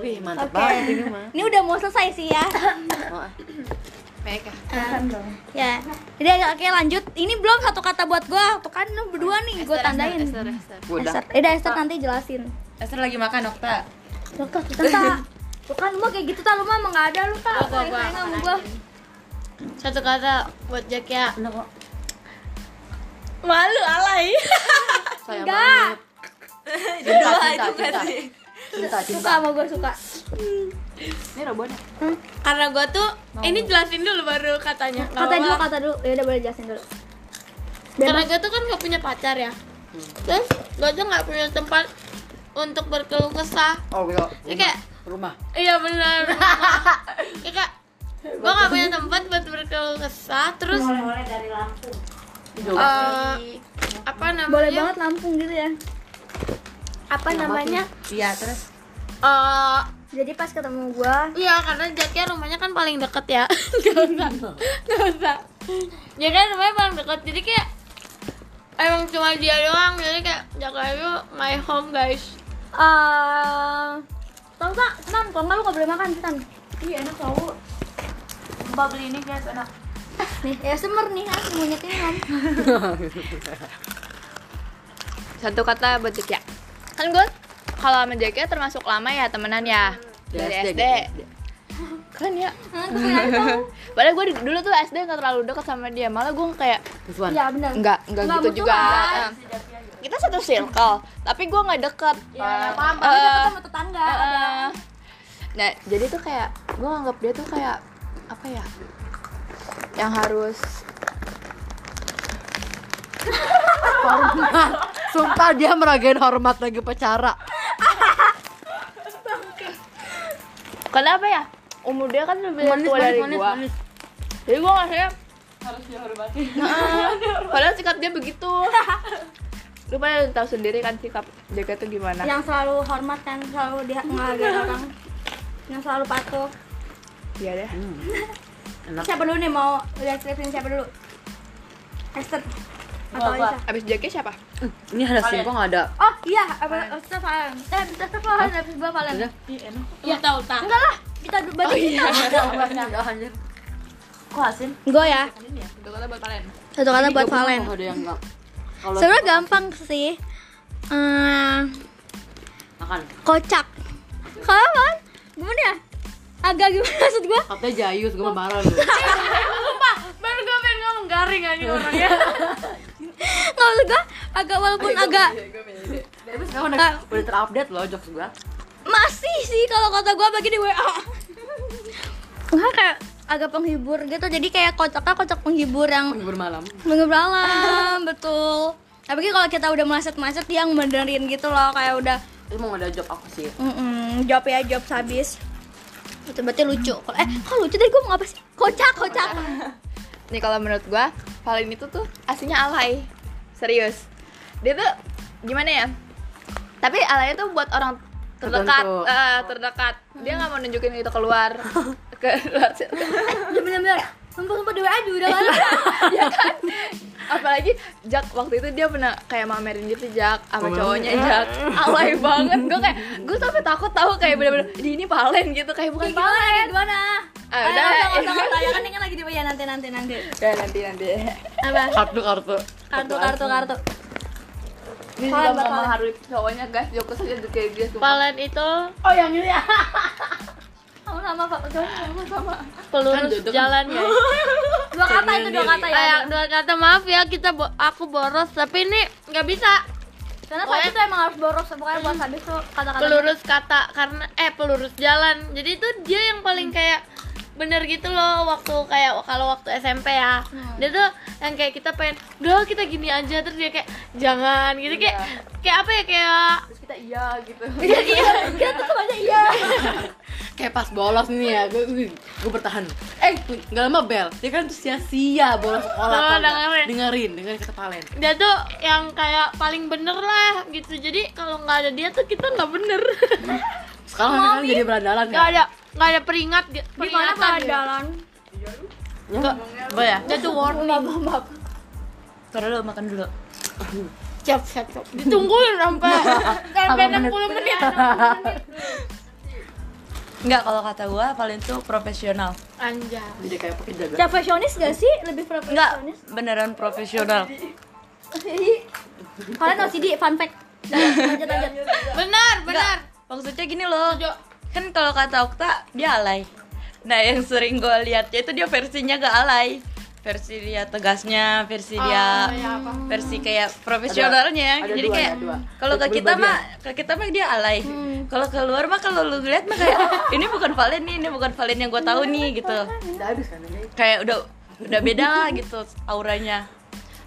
Wih, mantap banget ini mah.
ini udah mau selesai sih ya
Oh,
mereka
ya jadi oke lanjut ini belum satu kata buat gue tuh kan lu berdua nih gue tandain
Esther, Esther.
gua udah.
Esther, eh dah, Esther nanti jelasin
Esther lagi makan Okta
Dokter, kita Bukan lu mah kayak gitu tak lu mah emang gak ada lu tak
Gua, gua,
Sayang
gua,
sama gue
Satu kata buat Jack ya.
kok
Malu alay.
Sayang
Enggak.
banget. Cinta, cinta, cinta. Cinta,
Suka
cinta.
sama gue suka
Ini robotnya.
Karena gua tuh ini jelasin dulu baru katanya. Nggak
kata
apa-apa.
dulu kata dulu ya udah boleh jelasin dulu
Karena gue tuh kan gak punya pacar ya Terus gue tuh gak punya tempat untuk berkeluh kesah
Oh, iya.
Ini kayak
rumah.
Iya benar. rumah. Iya kak. Gue gak punya tempat buat berkeluh kesah. Terus eh, apa namanya?
boleh banget Lampung gitu ya
Apa namanya?
Iya, terus
Eh,
jadi pas ketemu gua
iya karena Jacknya rumahnya kan paling deket ya. Gak usah. Gak usah. Ya kan rumahnya paling deket. Jadi kayak emang cuma dia doang. Jadi kayak Jack itu my home guys.
eh tau tak Tam kalau nggak lu nggak boleh makan Tam
iya enak tahu. Mbak beli ini guys enak.
nih ya semer nih kan semuanya ini kan
Satu kata buat Jack ya. Kan gue kalau sama Jack ya termasuk lama ya temenan ya. Dari SD. Kan ya. Padahal gue dulu tuh SD gak terlalu dekat sama dia. Malah gue kayak
Terus
iya benar
enggak, enggak
Nggak
gitu
musuhan.
juga. Eh, Kita satu circle, tapi gue nggak deket.
Ya, paham.
paham. Kita ketemu
tetangga.
Heeh. Nah, jadi tuh kayak gue nganggap dia tuh kayak apa ya? Yang harus
hormat. Ah, Sumpah dia meragain hormat lagi pacara.
kenapa ya? Umur dia kan lebih tua dari gua. Jadi gua ngerasa
Harus dihormati.
padahal sikap dia begitu. Lu pada tahu sendiri kan sikap Jaga tuh gimana?
yang selalu hormat kan selalu dia menghargai orang yang selalu patuh
Iya deh.
Enak.
siapa dulu nih mau deskripsiin siapa dulu Esther atau
Gua, gua.
Aisyah
Abis Jaga siapa?
Ini ada singkong ada.
Oh iya, apa Esther Valen. Eh, Esther Valen, habis gua Valen. Iya.
Udah.
Ya tahu tak.
Enggak lah, kita bagi kita.
Kok asin?
Gue ya,
Itu kata buat kalian.
satu kata buat Valen.
Ada yang enggak. Kalau
Sebenarnya gampang sih. Eh,
makan.
kocak. Kalau kan, gimana ya? Agak gimana maksud gue?
Katanya jayus, gue mau marah lu.
Baru gue pengen ngomong garing aja orangnya.
Nggak maksud gue, agak walaupun agak
Tapi sekarang udah, udah terupdate loh jokes gue.
masih sih kalau kata gue bagi di WA. Nggak kayak agak penghibur gitu, jadi kayak kocaknya kocak penghibur yang
Penghibur malam.
Minggu malam, betul. Tapi kalau kita udah meleset-meleset dia benerin gitu loh, kayak udah
Itu mau ada job aku sih.
mm job ya, job habis. Itu berarti lucu. Kalau- Eh, kok lucu tadi gue mau apa sih? Kocak, kocak.
Nih kalau menurut gua, Valen itu tuh aslinya alay. Serius. Dia tuh gimana ya? Tapi alaynya tuh buat orang terdekat,
Tertentu.
eh, terdekat. Dia nggak mau nunjukin itu keluar ke luar circle.
Ya bener-bener. Sumpah-sumpah di WA juga udah kan.
Apalagi Jack waktu itu dia pernah kayak mamerin gitu Jack sama cowoknya Jack. Alay banget. Gue kayak gue sampai takut tahu kayak bener-bener di ini Valen gitu kayak bukan
Gimana,
Valen.
kayak gimana?
Ah,
Eh,
udah.
nggak usah, nggak usah, nggak usah. Ya kan ini kan lagi di WA nanti-nanti nanti.
Ya nanti nanti.
Apa?
Kartu kartu.
Kartu, kartu, kartu.
Ini
Valen
juga
buat
mau
Valen.
mengharui cowoknya guys. Joko saja kayak dia sumpah.
Valen itu
Kamu sama Pak Udah, sama sama.
pelurus
Kan jodoh.
jalan guys.
Dua kata itu dua kata ya.
Kayak dua kata maaf ya kita bo- aku boros tapi ini nggak bisa
Karena Pak itu emang harus boros, pokoknya buat habis tuh kata-kata.
pelurus kata karena eh pelurus jalan. Jadi itu dia yang paling kayak bener gitu loh waktu kayak kalau waktu SMP ya dia tuh yang kayak kita pengen udah kita gini aja terus dia kayak jangan gitu kayak kayak apa ya kayak
Terus kita iya gitu.
Kita tetap aja iya.
Kayak pas bolos nih ya, gue, gue bertahan. Eh, nggak lama bel. Dia kan tuh sia-sia bolos sekolah.
Oh,
tau nggak?
dengerin.
dengerin, dengerin kata Valen.
dia tuh yang kayak paling bener lah gitu jadi kalau nggak ada dia tuh kita nggak bener
Sekarang kan jadi berandalan
nggak
ya.
ada nggak ada peringat ge-
Gimana
peringatan gitu.
kalau
dia.
jalan?
Boleh ya?
dia tuh warning
Taruh dulu makan dulu.
siap siap siap ditungguin sampai sampai 60 menit
Enggak, kalau kata gua paling tuh profesional.
anjay
Jadi kayak pakai jaga.
Profesionis gak sih? Lebih
Enggak,
profesionis
beneran profesional.
Kalian OCD, fun fact Lanjut, lanjut
benar benar
Maksudnya gini loh. Kan kalau kata Okta dia alay. Nah, yang sering gua lihat itu dia versinya gak alay.
versi dia tegasnya versi dia versi kayak profesionalnya
Ada- ada
jadi
dua,
kayak
ada dua.
kalau ke kita
Kepribadian.
mah ke kita mah dia alay kalau keluar mah kalau lu lihat mah kayak ini bukan Valen nih ini bukan Valen yang gue tahu nih gitu
Udah habis kan ini?
kayak udah udah beda lah gitu auranya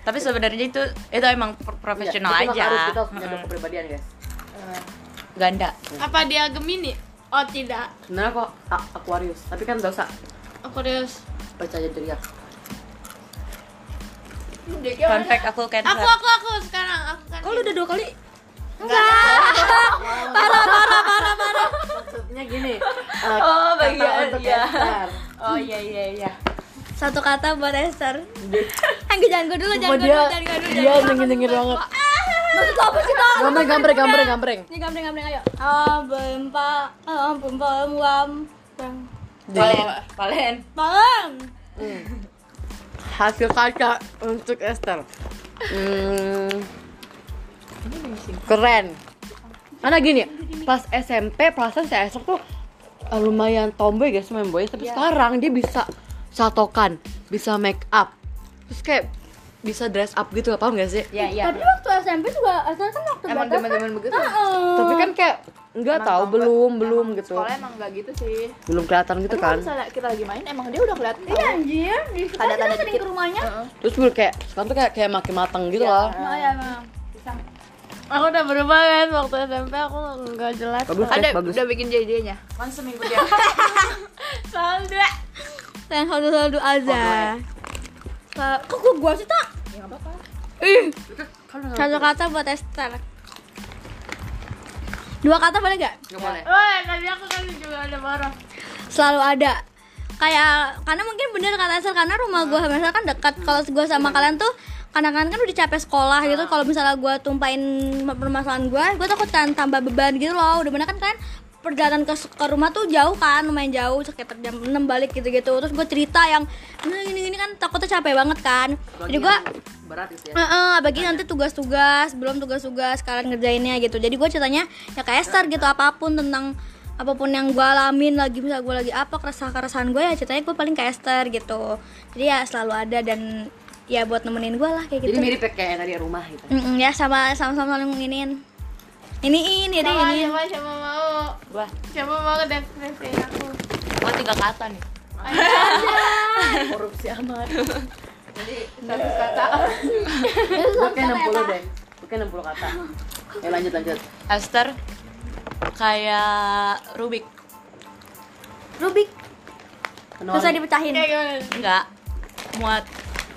tapi sebenarnya itu itu emang pro- profesional
Iya, kita
aja
harus- Kita harus punya dua
Mm-mm.
kepribadian guys
ganda
Apa dia Gemini? Oh tidak,
Sebenarnya kok A- Aquarius, tapi kan dosa
Aquarius.
percaya diri ya.
fun fact aku cancer
Aku aku aku sekarang aku kan.
kok lu udah dua kali
Maksudnya gini.
oh bagian
untuk
iya
Cancer.
oh iya iya iya
Satu kata buat Esther. Anggi jangan gue dulu, jangan
Cuma
gue
dia
dulu, jangan gue dulu.
dia nyengir-nyengir banget.
Maksud lo apa sih tau?
Gambreng, gambreng, gambreng, gambreng.
Ini gambreng gambreng ayo. Ah, bempa, ah, bempa, muam, bang,
Valen Valen
bang.
Hasil kaca untuk Esther. Hmm, keren. Karena gini, pas SMP perasaan saya Esther tuh eh, lumayan tomboy guys main boy
Iya.
tapi sekarang dia bisa satokan, bisa make up. Terus kayak bisa dress up gitu, paham gak sih?
iya iya
Tapi waktu SMP juga Esther kan waktu batas
Emang
kan.
teman-teman begitu?
Heeh.
Tapi kan kayak nggak tahu belum belum gitu.
Sekolah emang gak gitu sih.
Belum kelihatan gitu
Tapi
kan.
kalau misalnya kita lagi main emang dia udah kelihatan.
Iya anjir, di kita
Ada
kita
tanda
sering
dikit.
ke rumahnya.
Terus gue kayak sekarang tuh kayak kayak makin matang gitu lah.
Oh iya, emang.
Aku udah berubah kan waktu SMP aku nggak jelas.
Bagus
Ada
guys, bagus.
udah bikin JJ-nya.
kan seminggu dia
Saldo.
Sayang saldo saldo aja. Ke- Kok gua gua sih tak? Ih. Satu kata buat Esther. Dua kata boleh gak?
Nggak boleh.
Wah tadi aku kan juga ada marah.
selalu ada kayak karena mungkin bener kata Sel karena rumah gue misalnya kan dekat kalau gue sama kalian tuh kadang-kadang kan udah capek sekolah gitu kalau misalnya gue tumpain permasalahan gue gue takut kan tambah beban gitu loh udah bener kan kan perjalanan ke, ke rumah tuh jauh kan lumayan jauh sekitar jam 6 balik gitu-gitu terus gue cerita yang gini-gini kan takutnya capek banget kan jadi gue
Berat gitu ya.
Heeh, bagi nanti tugas-tugas, belum tugas-tugas kalian ngerjainnya gitu. Jadi gue ceritanya ya kayak Esther gitu apapun tentang apapun yang gue alamin lagi misalnya gue lagi apa keresahan-keresahan gue ya ceritanya gue paling kayak Esther gitu. Jadi ya selalu ada dan ya buat nemenin gue lah kayak gitu.
Jadi mirip kayak tadi rumah gitu.
Mm-mm, ya sama sama sama saling nginin. Iniin, ini
Siapa
ini.
siapa siapa mau?
Gua.
Siapa mau ke depresiin aku?
gua tiga kata nih
Korupsi amat.
Satu kata.
Gue kayak 60 deh. Gue kayak 60 kata. Eh lanjut lanjut.
Esther kayak Rubik
Rubik,
Nol.
susah dipecahin.
Kayak gimana?
enggak muat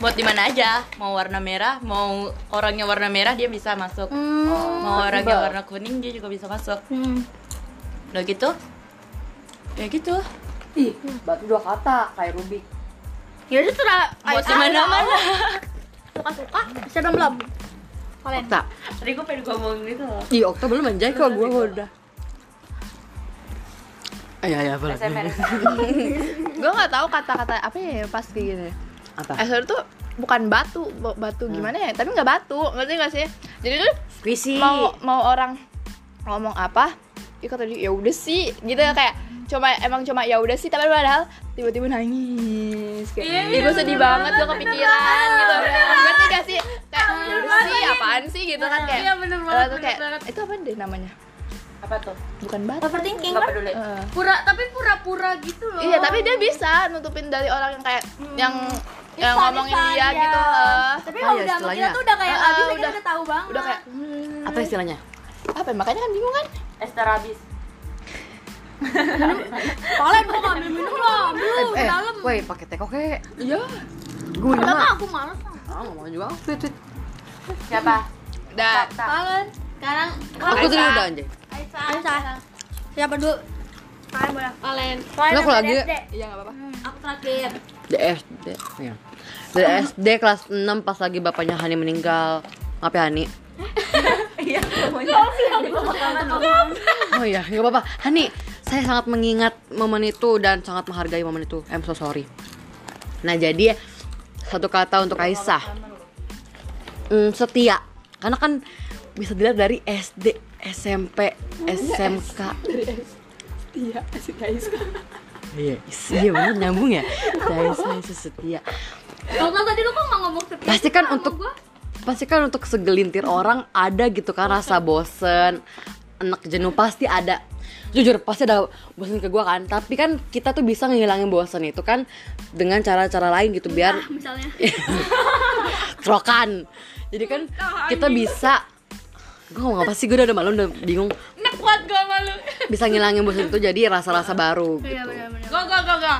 buat di mana aja mau warna merah mau orangnya warna merah dia bisa masuk
Hmm.
mau orangnya
tiba.
warna kuning dia juga bisa masuk
hmm.
udah gitu ya gitu
Ih, berarti dua kata kayak Rubik.
Ya udah terus
buat
ah.
di mana mana
suka-suka. Bisa belum belum? Kalian.
Okta.
tadi gue pengen ngomong gitu loh
Ih, Okta belum anjay kok gua gua udah. Iya, iya, boleh.
Gue nggak tahu kata-kata apa ya pas kayak gitu. ya.
Apa?
Esor tuh bukan batu, bo- batu gimana ya? Tapi nggak batu, ngerti nggak sih? Jadi tuh
Squishy.
Iya.
mau mau orang ngomong apa, ikut tadi ya udah sih, gitu kayak cuma emang cuma ya udah sih tapi padahal tiba-tiba nangis
Iya,
kayak ibu sedih banget gue kepikiran gitu ngerti gak sih kayak ya udah sih apaan sih gitu kan kayak
Iya, bener
padahal
banget,
tuh
bener
kayak
banget.
itu apa deh namanya
apa tuh
bukan batu
Overthinking kan?
Eh.
Pura tapi pura-pura gitu loh.
Iya, tapi dia bisa nutupin dari orang yang kayak
Hmm.
yang yang
Bisa,
ngomongin
bisa,
dia
iya.
gitu. eh.
tapi
Apa
kalau udah sama
ya
kita
istilahnya?
tuh udah kayak
Heeh,
abis kita
udah.
udah tahu banget
Udah kayak
Apa istilahnya?
apa? ya? Makanya kan bingung kan?
Esther habis
soalnya gue ngambil minum loh
Eh,
belum
eh,
dalam
woi, pakai teko kek.
Iya.
Gue
pertama
mah.
aku males sama
Ah, ngomong juga. Tweet, tweet.
siapa
Dah.
kalian
sekarang
Aku tadi udah anjay.
Aisyah.
Aisyah siapa dulu
Hmm.
kalian boleh
Valen.
kalian
Aku
sampai
lagi.
SD.
Iya, enggak apa-apa.
aku terakhir
Dari SD ya. Dari SD kelas 6 pas lagi bapaknya Hani meninggal Maaf ya Hani Oh iya, nggak apa-apa Hani, saya sangat mengingat momen itu dan sangat menghargai momen itu I'm so sorry Nah jadi satu kata untuk Aisyah Hmm, Setia Karena kan bisa dilihat dari SD, SMP, SMK Iya, iya bener nyambung ya Aisyah itu setia
Kalau tadi lu kok nggak ngomong seperti
pasti
itu
kan
sama
untuk
gua?
pasti kan untuk segelintir orang ada gitu kan rasa bosen enak jenuh pasti ada jujur pasti ada bosen ke gua kan tapi kan kita tuh bisa ngilangin bosen itu kan dengan cara-cara lain gitu biar
Ah, misalnya
trokan jadi kan kita
gitu.
bisa gue ngomong apa sih gue udah malu udah bingung
Nek kuat gue malu.
bisa ngilangin bosen itu jadi rasa-rasa baru
iya
gitu
benar-benar
Go go go go.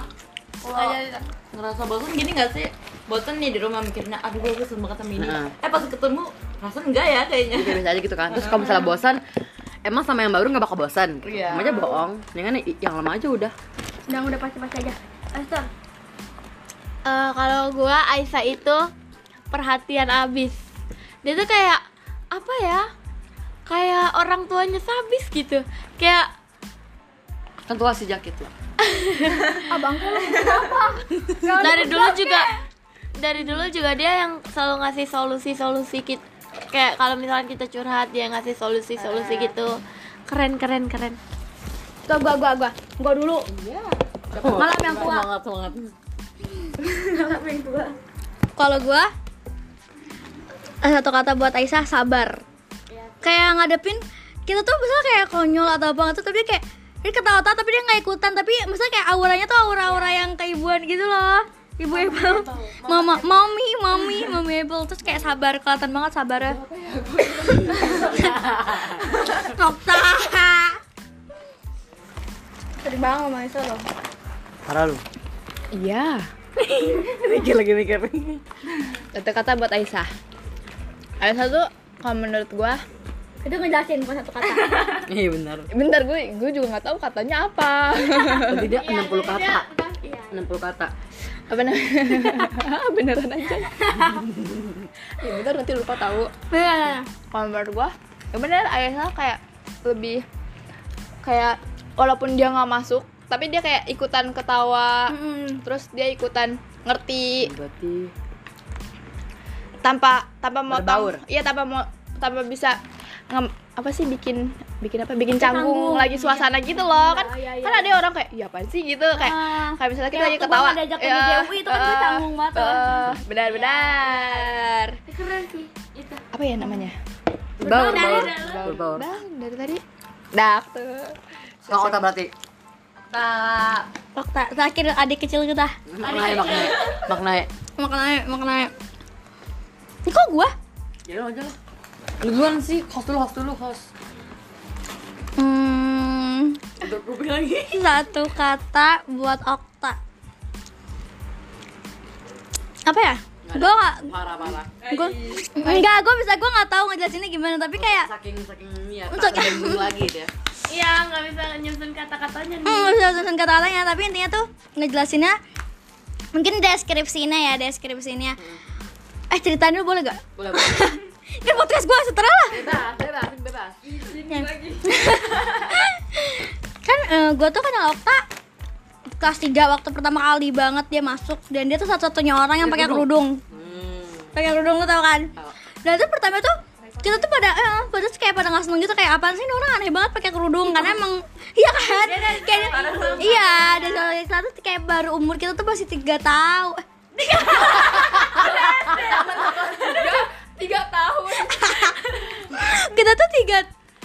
Ngerasa bosan gini gak sih? Bosan nih di rumah mikirnya, aduh gue bosan banget sama ini.
Nah.
Eh pas ketemu, rasanya enggak ya kayaknya.
Kayak biasa aja gitu kan terus kalau misalnya bosan emang sama yang baru nggak bakal bosan gitu.
Iya.
Emang aja bohong dengan yang lama aja udah
udah udah pasti-pasti aja Esther
Eh, kalau gua Aisyah itu perhatian abis dia tuh kayak apa ya kayak orang tuanya sabis gitu kayak
kan tua si jakit lah
dari dulu juga dari dulu juga dia yang selalu ngasih solusi-solusi kit kayak kalau misalkan kita curhat dia ngasih solusi-solusi gitu keren keren keren
gua gua gua gua gua dulu malam yang tua
semangat semangat
kalau gua eh, satu kata buat Aisyah sabar kayak ngadepin kita tuh misalnya kayak konyol atau apa gitu tapi dia kayak dia ketawa-tawa tapi dia nggak ikutan tapi misalnya kayak auranya tuh aura-aura yang keibuan gitu loh ibu Apple mama mami mami mami Apple terus kayak sabar kelihatan banget sabarnya Nokta
Sering banget sama Aisyah loh.
parah lu iya mikir lagi mikir
Satu kata buat Aisyah. Aisyah tuh kalau menurut gua
itu ngejelasin bukan satu kata
iya benar
bentar gue gue juga nggak tahu katanya apa
lebih tidak 60 kata 60 kata
apa namanya beneran aja ya bentar nanti lupa tahu
Iya.
kalau menurut gua ya bener ayahnya kayak lebih kayak walaupun dia nggak masuk tapi dia kayak ikutan ketawa terus dia ikutan ngerti
berarti
tanpa tanpa motong
Berbaur.
iya tanpa mau tanpa bisa nge- apa sih bikin bikin apa bikin canggung, lagi suasana gitu loh kan kan ada orang kayak ya apaan sih gitu kayak
Ah.
kayak misalnya kita
Kayak
lagi
waktu
ketawa
gua ngajak ke DJW itu kan gua
eh,
canggung banget tuh.
eh, benar-benar
keren sih itu
apa ya namanya
berbaur berbaur berbaur
dah dari tadi dah tuh
Nggak kota berarti
Fakta, terakhir adik kecil kita
maknai maknai maknai
Maknanya, maknanya Ini kok gua?
ya lu aja lah lu duluan sih host dulu host dulu host
Hmm,
udah kuping lagi
satu kata buat Okta Apa ya? Gue gak,
parah parah
gue Enggak, gue bisa, gue gak tau ngejelasinnya gimana Tapi kayak,
saking saking ya
Untuk-
tak ada bunyi lagi dia
iya nggak bisa nyusun kata-katanya nih
hmm, bisa susun kata-katanya Tapi intinya tuh ngejelasinnya Mungkin deskripsinya ya, deskripsinya Eh, ceritain dulu boleh gak?
boleh boleh
Kan podcast gue setara lah Iya.
bebas bebas bebas
kan gue tuh kan Okta kelas 3 waktu pertama kali banget dia masuk dan dia tuh satu-satunya orang yang pakai kerudung pakai kerudung lu tau kan dan itu pertama tuh kita tuh pada eh, pada tuh kayak pada nggak seneng gitu kayak apaan sih ini orang aneh banget pakai kerudung karena emang iya kan kayak iya dan soalnya satu tuh kayak baru umur kita tuh masih tiga tahun Iya.
tiga tahun
kita tuh tiga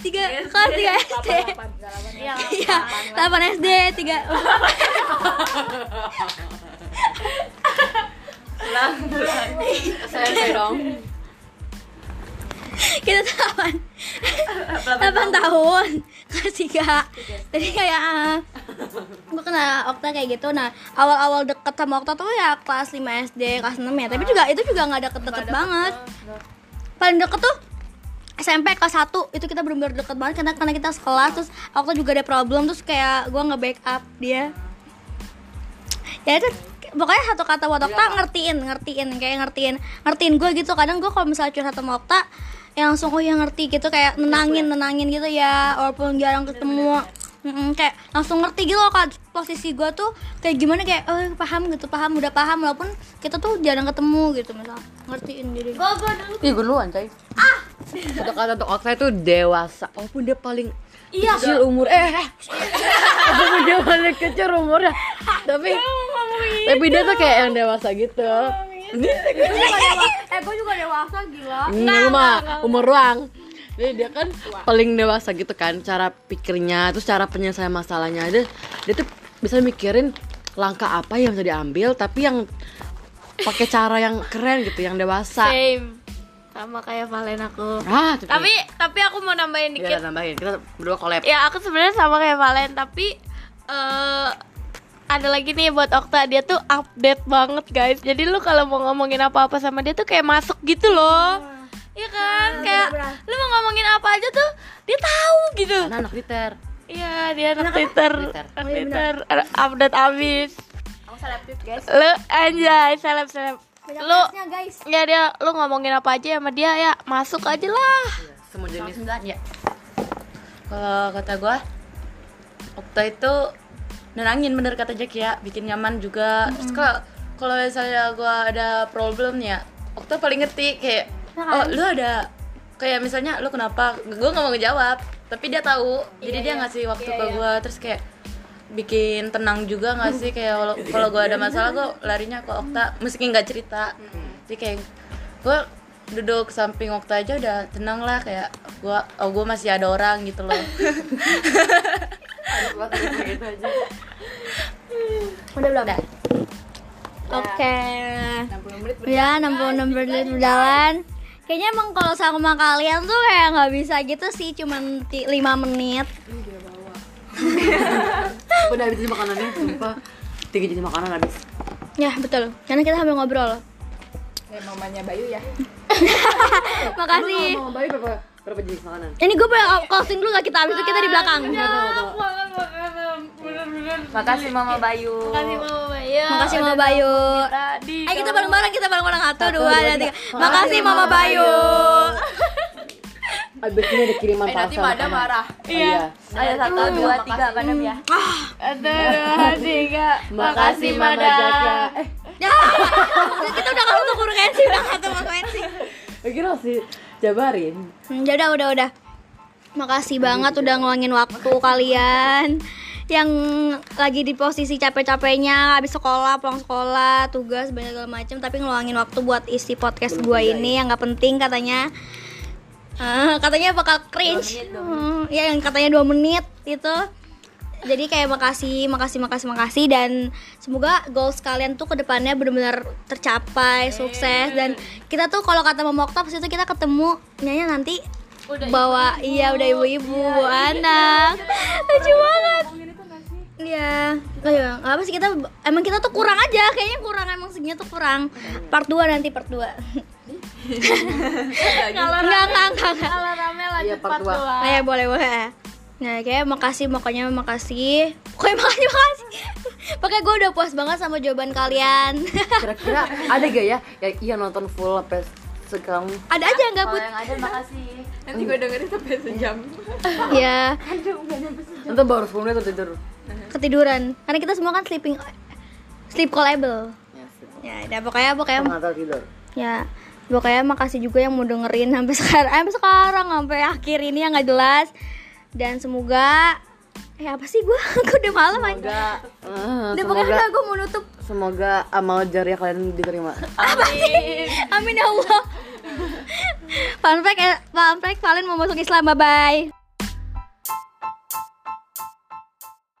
tiga kelas tiga SD iya delapan SD tiga
SMP Iya dong
kita tuh delapan delapan tahun kelas tiga jadi kayak ah, gue kenal Okta kayak gitu nah awal-awal deket sama Okta tuh ya kelas 5 SD kelas 6 ya tapi juga itu juga nggak deket-deket banget paling deket tuh SMP kelas 1 itu kita benar-benar deket banget karena karena kita sekelas terus Okta juga ada problem terus kayak gue nge backup dia ya itu pokoknya satu kata buat Okta ngertiin ngertiin kayak ngertiin ngertiin gue gitu kadang gue kalau misalnya curhat sama Okta ya langsung oh ya ngerti gitu kayak nenangin nenangin gitu ya walaupun jarang ketemu Mm-mm, kayak langsung ngerti gitu loh kan posisi gue tuh kayak gimana kayak oh paham gitu paham udah paham walaupun kita tuh jarang ketemu gitu misal ngertiin diri gue
Ih, gue duluan, coy. Ah! Untuk kata untuk Okta itu dewasa. Walaupun dia paling kecil umur eh eh. Walaupun dia paling kecil umurnya. Tapi tapi dia tuh kayak yang dewasa gitu.
eh gue juga dewasa gila
Ini mah umur ruang. Jadi dia kan paling dewasa gitu kan cara pikirnya, terus cara penyelesaian masalahnya. Dia, dia tuh bisa mikirin langkah apa yang bisa diambil tapi yang pakai cara yang keren gitu, yang dewasa.
Same. Sama kayak Valen aku.
Ah, tapi,
Tapi tapi aku mau nambahin
Iya,
dikit.
tambahin. Kita berdua collab.
Ya aku sebenarnya sama kayak Valen tapi eh ada lagi nih buat Okta dia tuh update banget guys. Jadi lu kalau mau ngomongin apa-apa sama dia tuh kayak masuk gitu loh. Iya kan? kayak lu mau ngomongin apa aja tuh dia tahu gitu.
Karena anak liter.
Iya, dia anak Twitter.
Twitter.
Anak Twitter ada update abis.
Aku selektif guys.
Lu anjay, seleb seleb.
Banyak
Lu
tesnya, guys
ya dia lu ngomongin apa aja sama dia ya masuk aja lah.
Semua jenis.
ya kalau kata gua Okta itu nenangin bener kata Jack ya bikin nyaman juga terus kalau kalau misalnya gua ada problem ya Okta paling ngerti kayak oh lu ada kayak misalnya lu kenapa gua nggak mau ngejawab tapi dia tahu jadi dia ngasih waktu ke gua terus kayak bikin tenang juga nggak sih kayak walau- kalau gua ada masalah gua larinya ke Okta meski nggak cerita jadi kayak gua duduk samping Okta aja udah tenang lah kayak gua oh gua masih ada orang gitu loh
udah belum oke ya 66 menit berjalan kayaknya emang kalau sama kalian tuh kayak nggak bisa gitu sih cuman 5 menit
Udah habis aja makanannya, sumpah. Tiga jenis makanan habis.
ya betul karena kita sambil ngobrol
Kayak mamanya Bayu ya.
makasih
Mau balik berapa berapa jenis makanan?
ini gue boleh closing dulu gak kita habis itu kita di belakang
makasih Mama Bayu
Makasih Mama ya.
makasih Mama Bayu
Tadi.
ayo kita bareng-bareng kita bareng-bareng satu dua dan tiga makasih Mama Bayu
Abis ini ada kiriman
Eh
parcel.
nanti Mada
makanan.
marah.
Oh, Iya.
ada satu dua tiga padam ya
Ada dua, tiga.
Makasih Mama Jaja. Eh,
ya kita udah nggak butuh kurensi udah nggak butuh kurensi
kira sih jabarin.
Hmm, ya udah udah udah. Makasih banget udah ngeluangin waktu kalian yang lagi di posisi capek-capeknya habis sekolah, pulang sekolah, tugas banyak segala macam tapi ngeluangin waktu buat isi podcast gua ini yang nggak penting katanya. Eh, katanya bakal cringe. Hmm, ya yang katanya dua menit gitu. itu. Jadi kayak makasih, makasih, makasih, makasih dan semoga goals kalian tuh kedepannya benar-benar tercapai, sukses dan kita tuh kalau kata Mama Okta pas itu kita ketemu nyanyi nanti bawa iya udah ibu-ibu bawa anak lucu banget Iya, oh iya, nggak apa sih kita emang kita tuh kurang aja, kayaknya kurang emang segini tuh kurang. Part 2 nanti part 2. Kalau enggak enggak enggak. enggak.
Kalau rame
Iya,
lanjut
part
part
dua.
dua.
Eh, boleh boleh. Nah, kayak makasih pokoknya makasih. Pokoknya makasih makasih. Pokoknya gue udah puas banget sama jawaban kalian.
Kira-kira ada gak ya yang iya nonton full sampai sekarang?
Ada aja yang gabut.
Nanti gue dengerin sampai sejam.
Ya,
Nonton baru 10 menit udah tidur.
ketiduran. Karena kita semua kan sleeping sleep callable. Ya, udah pokoknya pokoknya
Nggak tahu tidur.
ya pokoknya makasih juga yang mau dengerin sampai sekarang eh, sampai sekarang sampai akhir ini yang nggak jelas dan semoga eh apa sih gue gue udah malam aja
Ah,
udah pokoknya
semoga
udah gue mau nutup
semoga amal jariah kalian diterima.
amin ya allah fun fact eh, fun fact kalian mau masuk Islam bye bye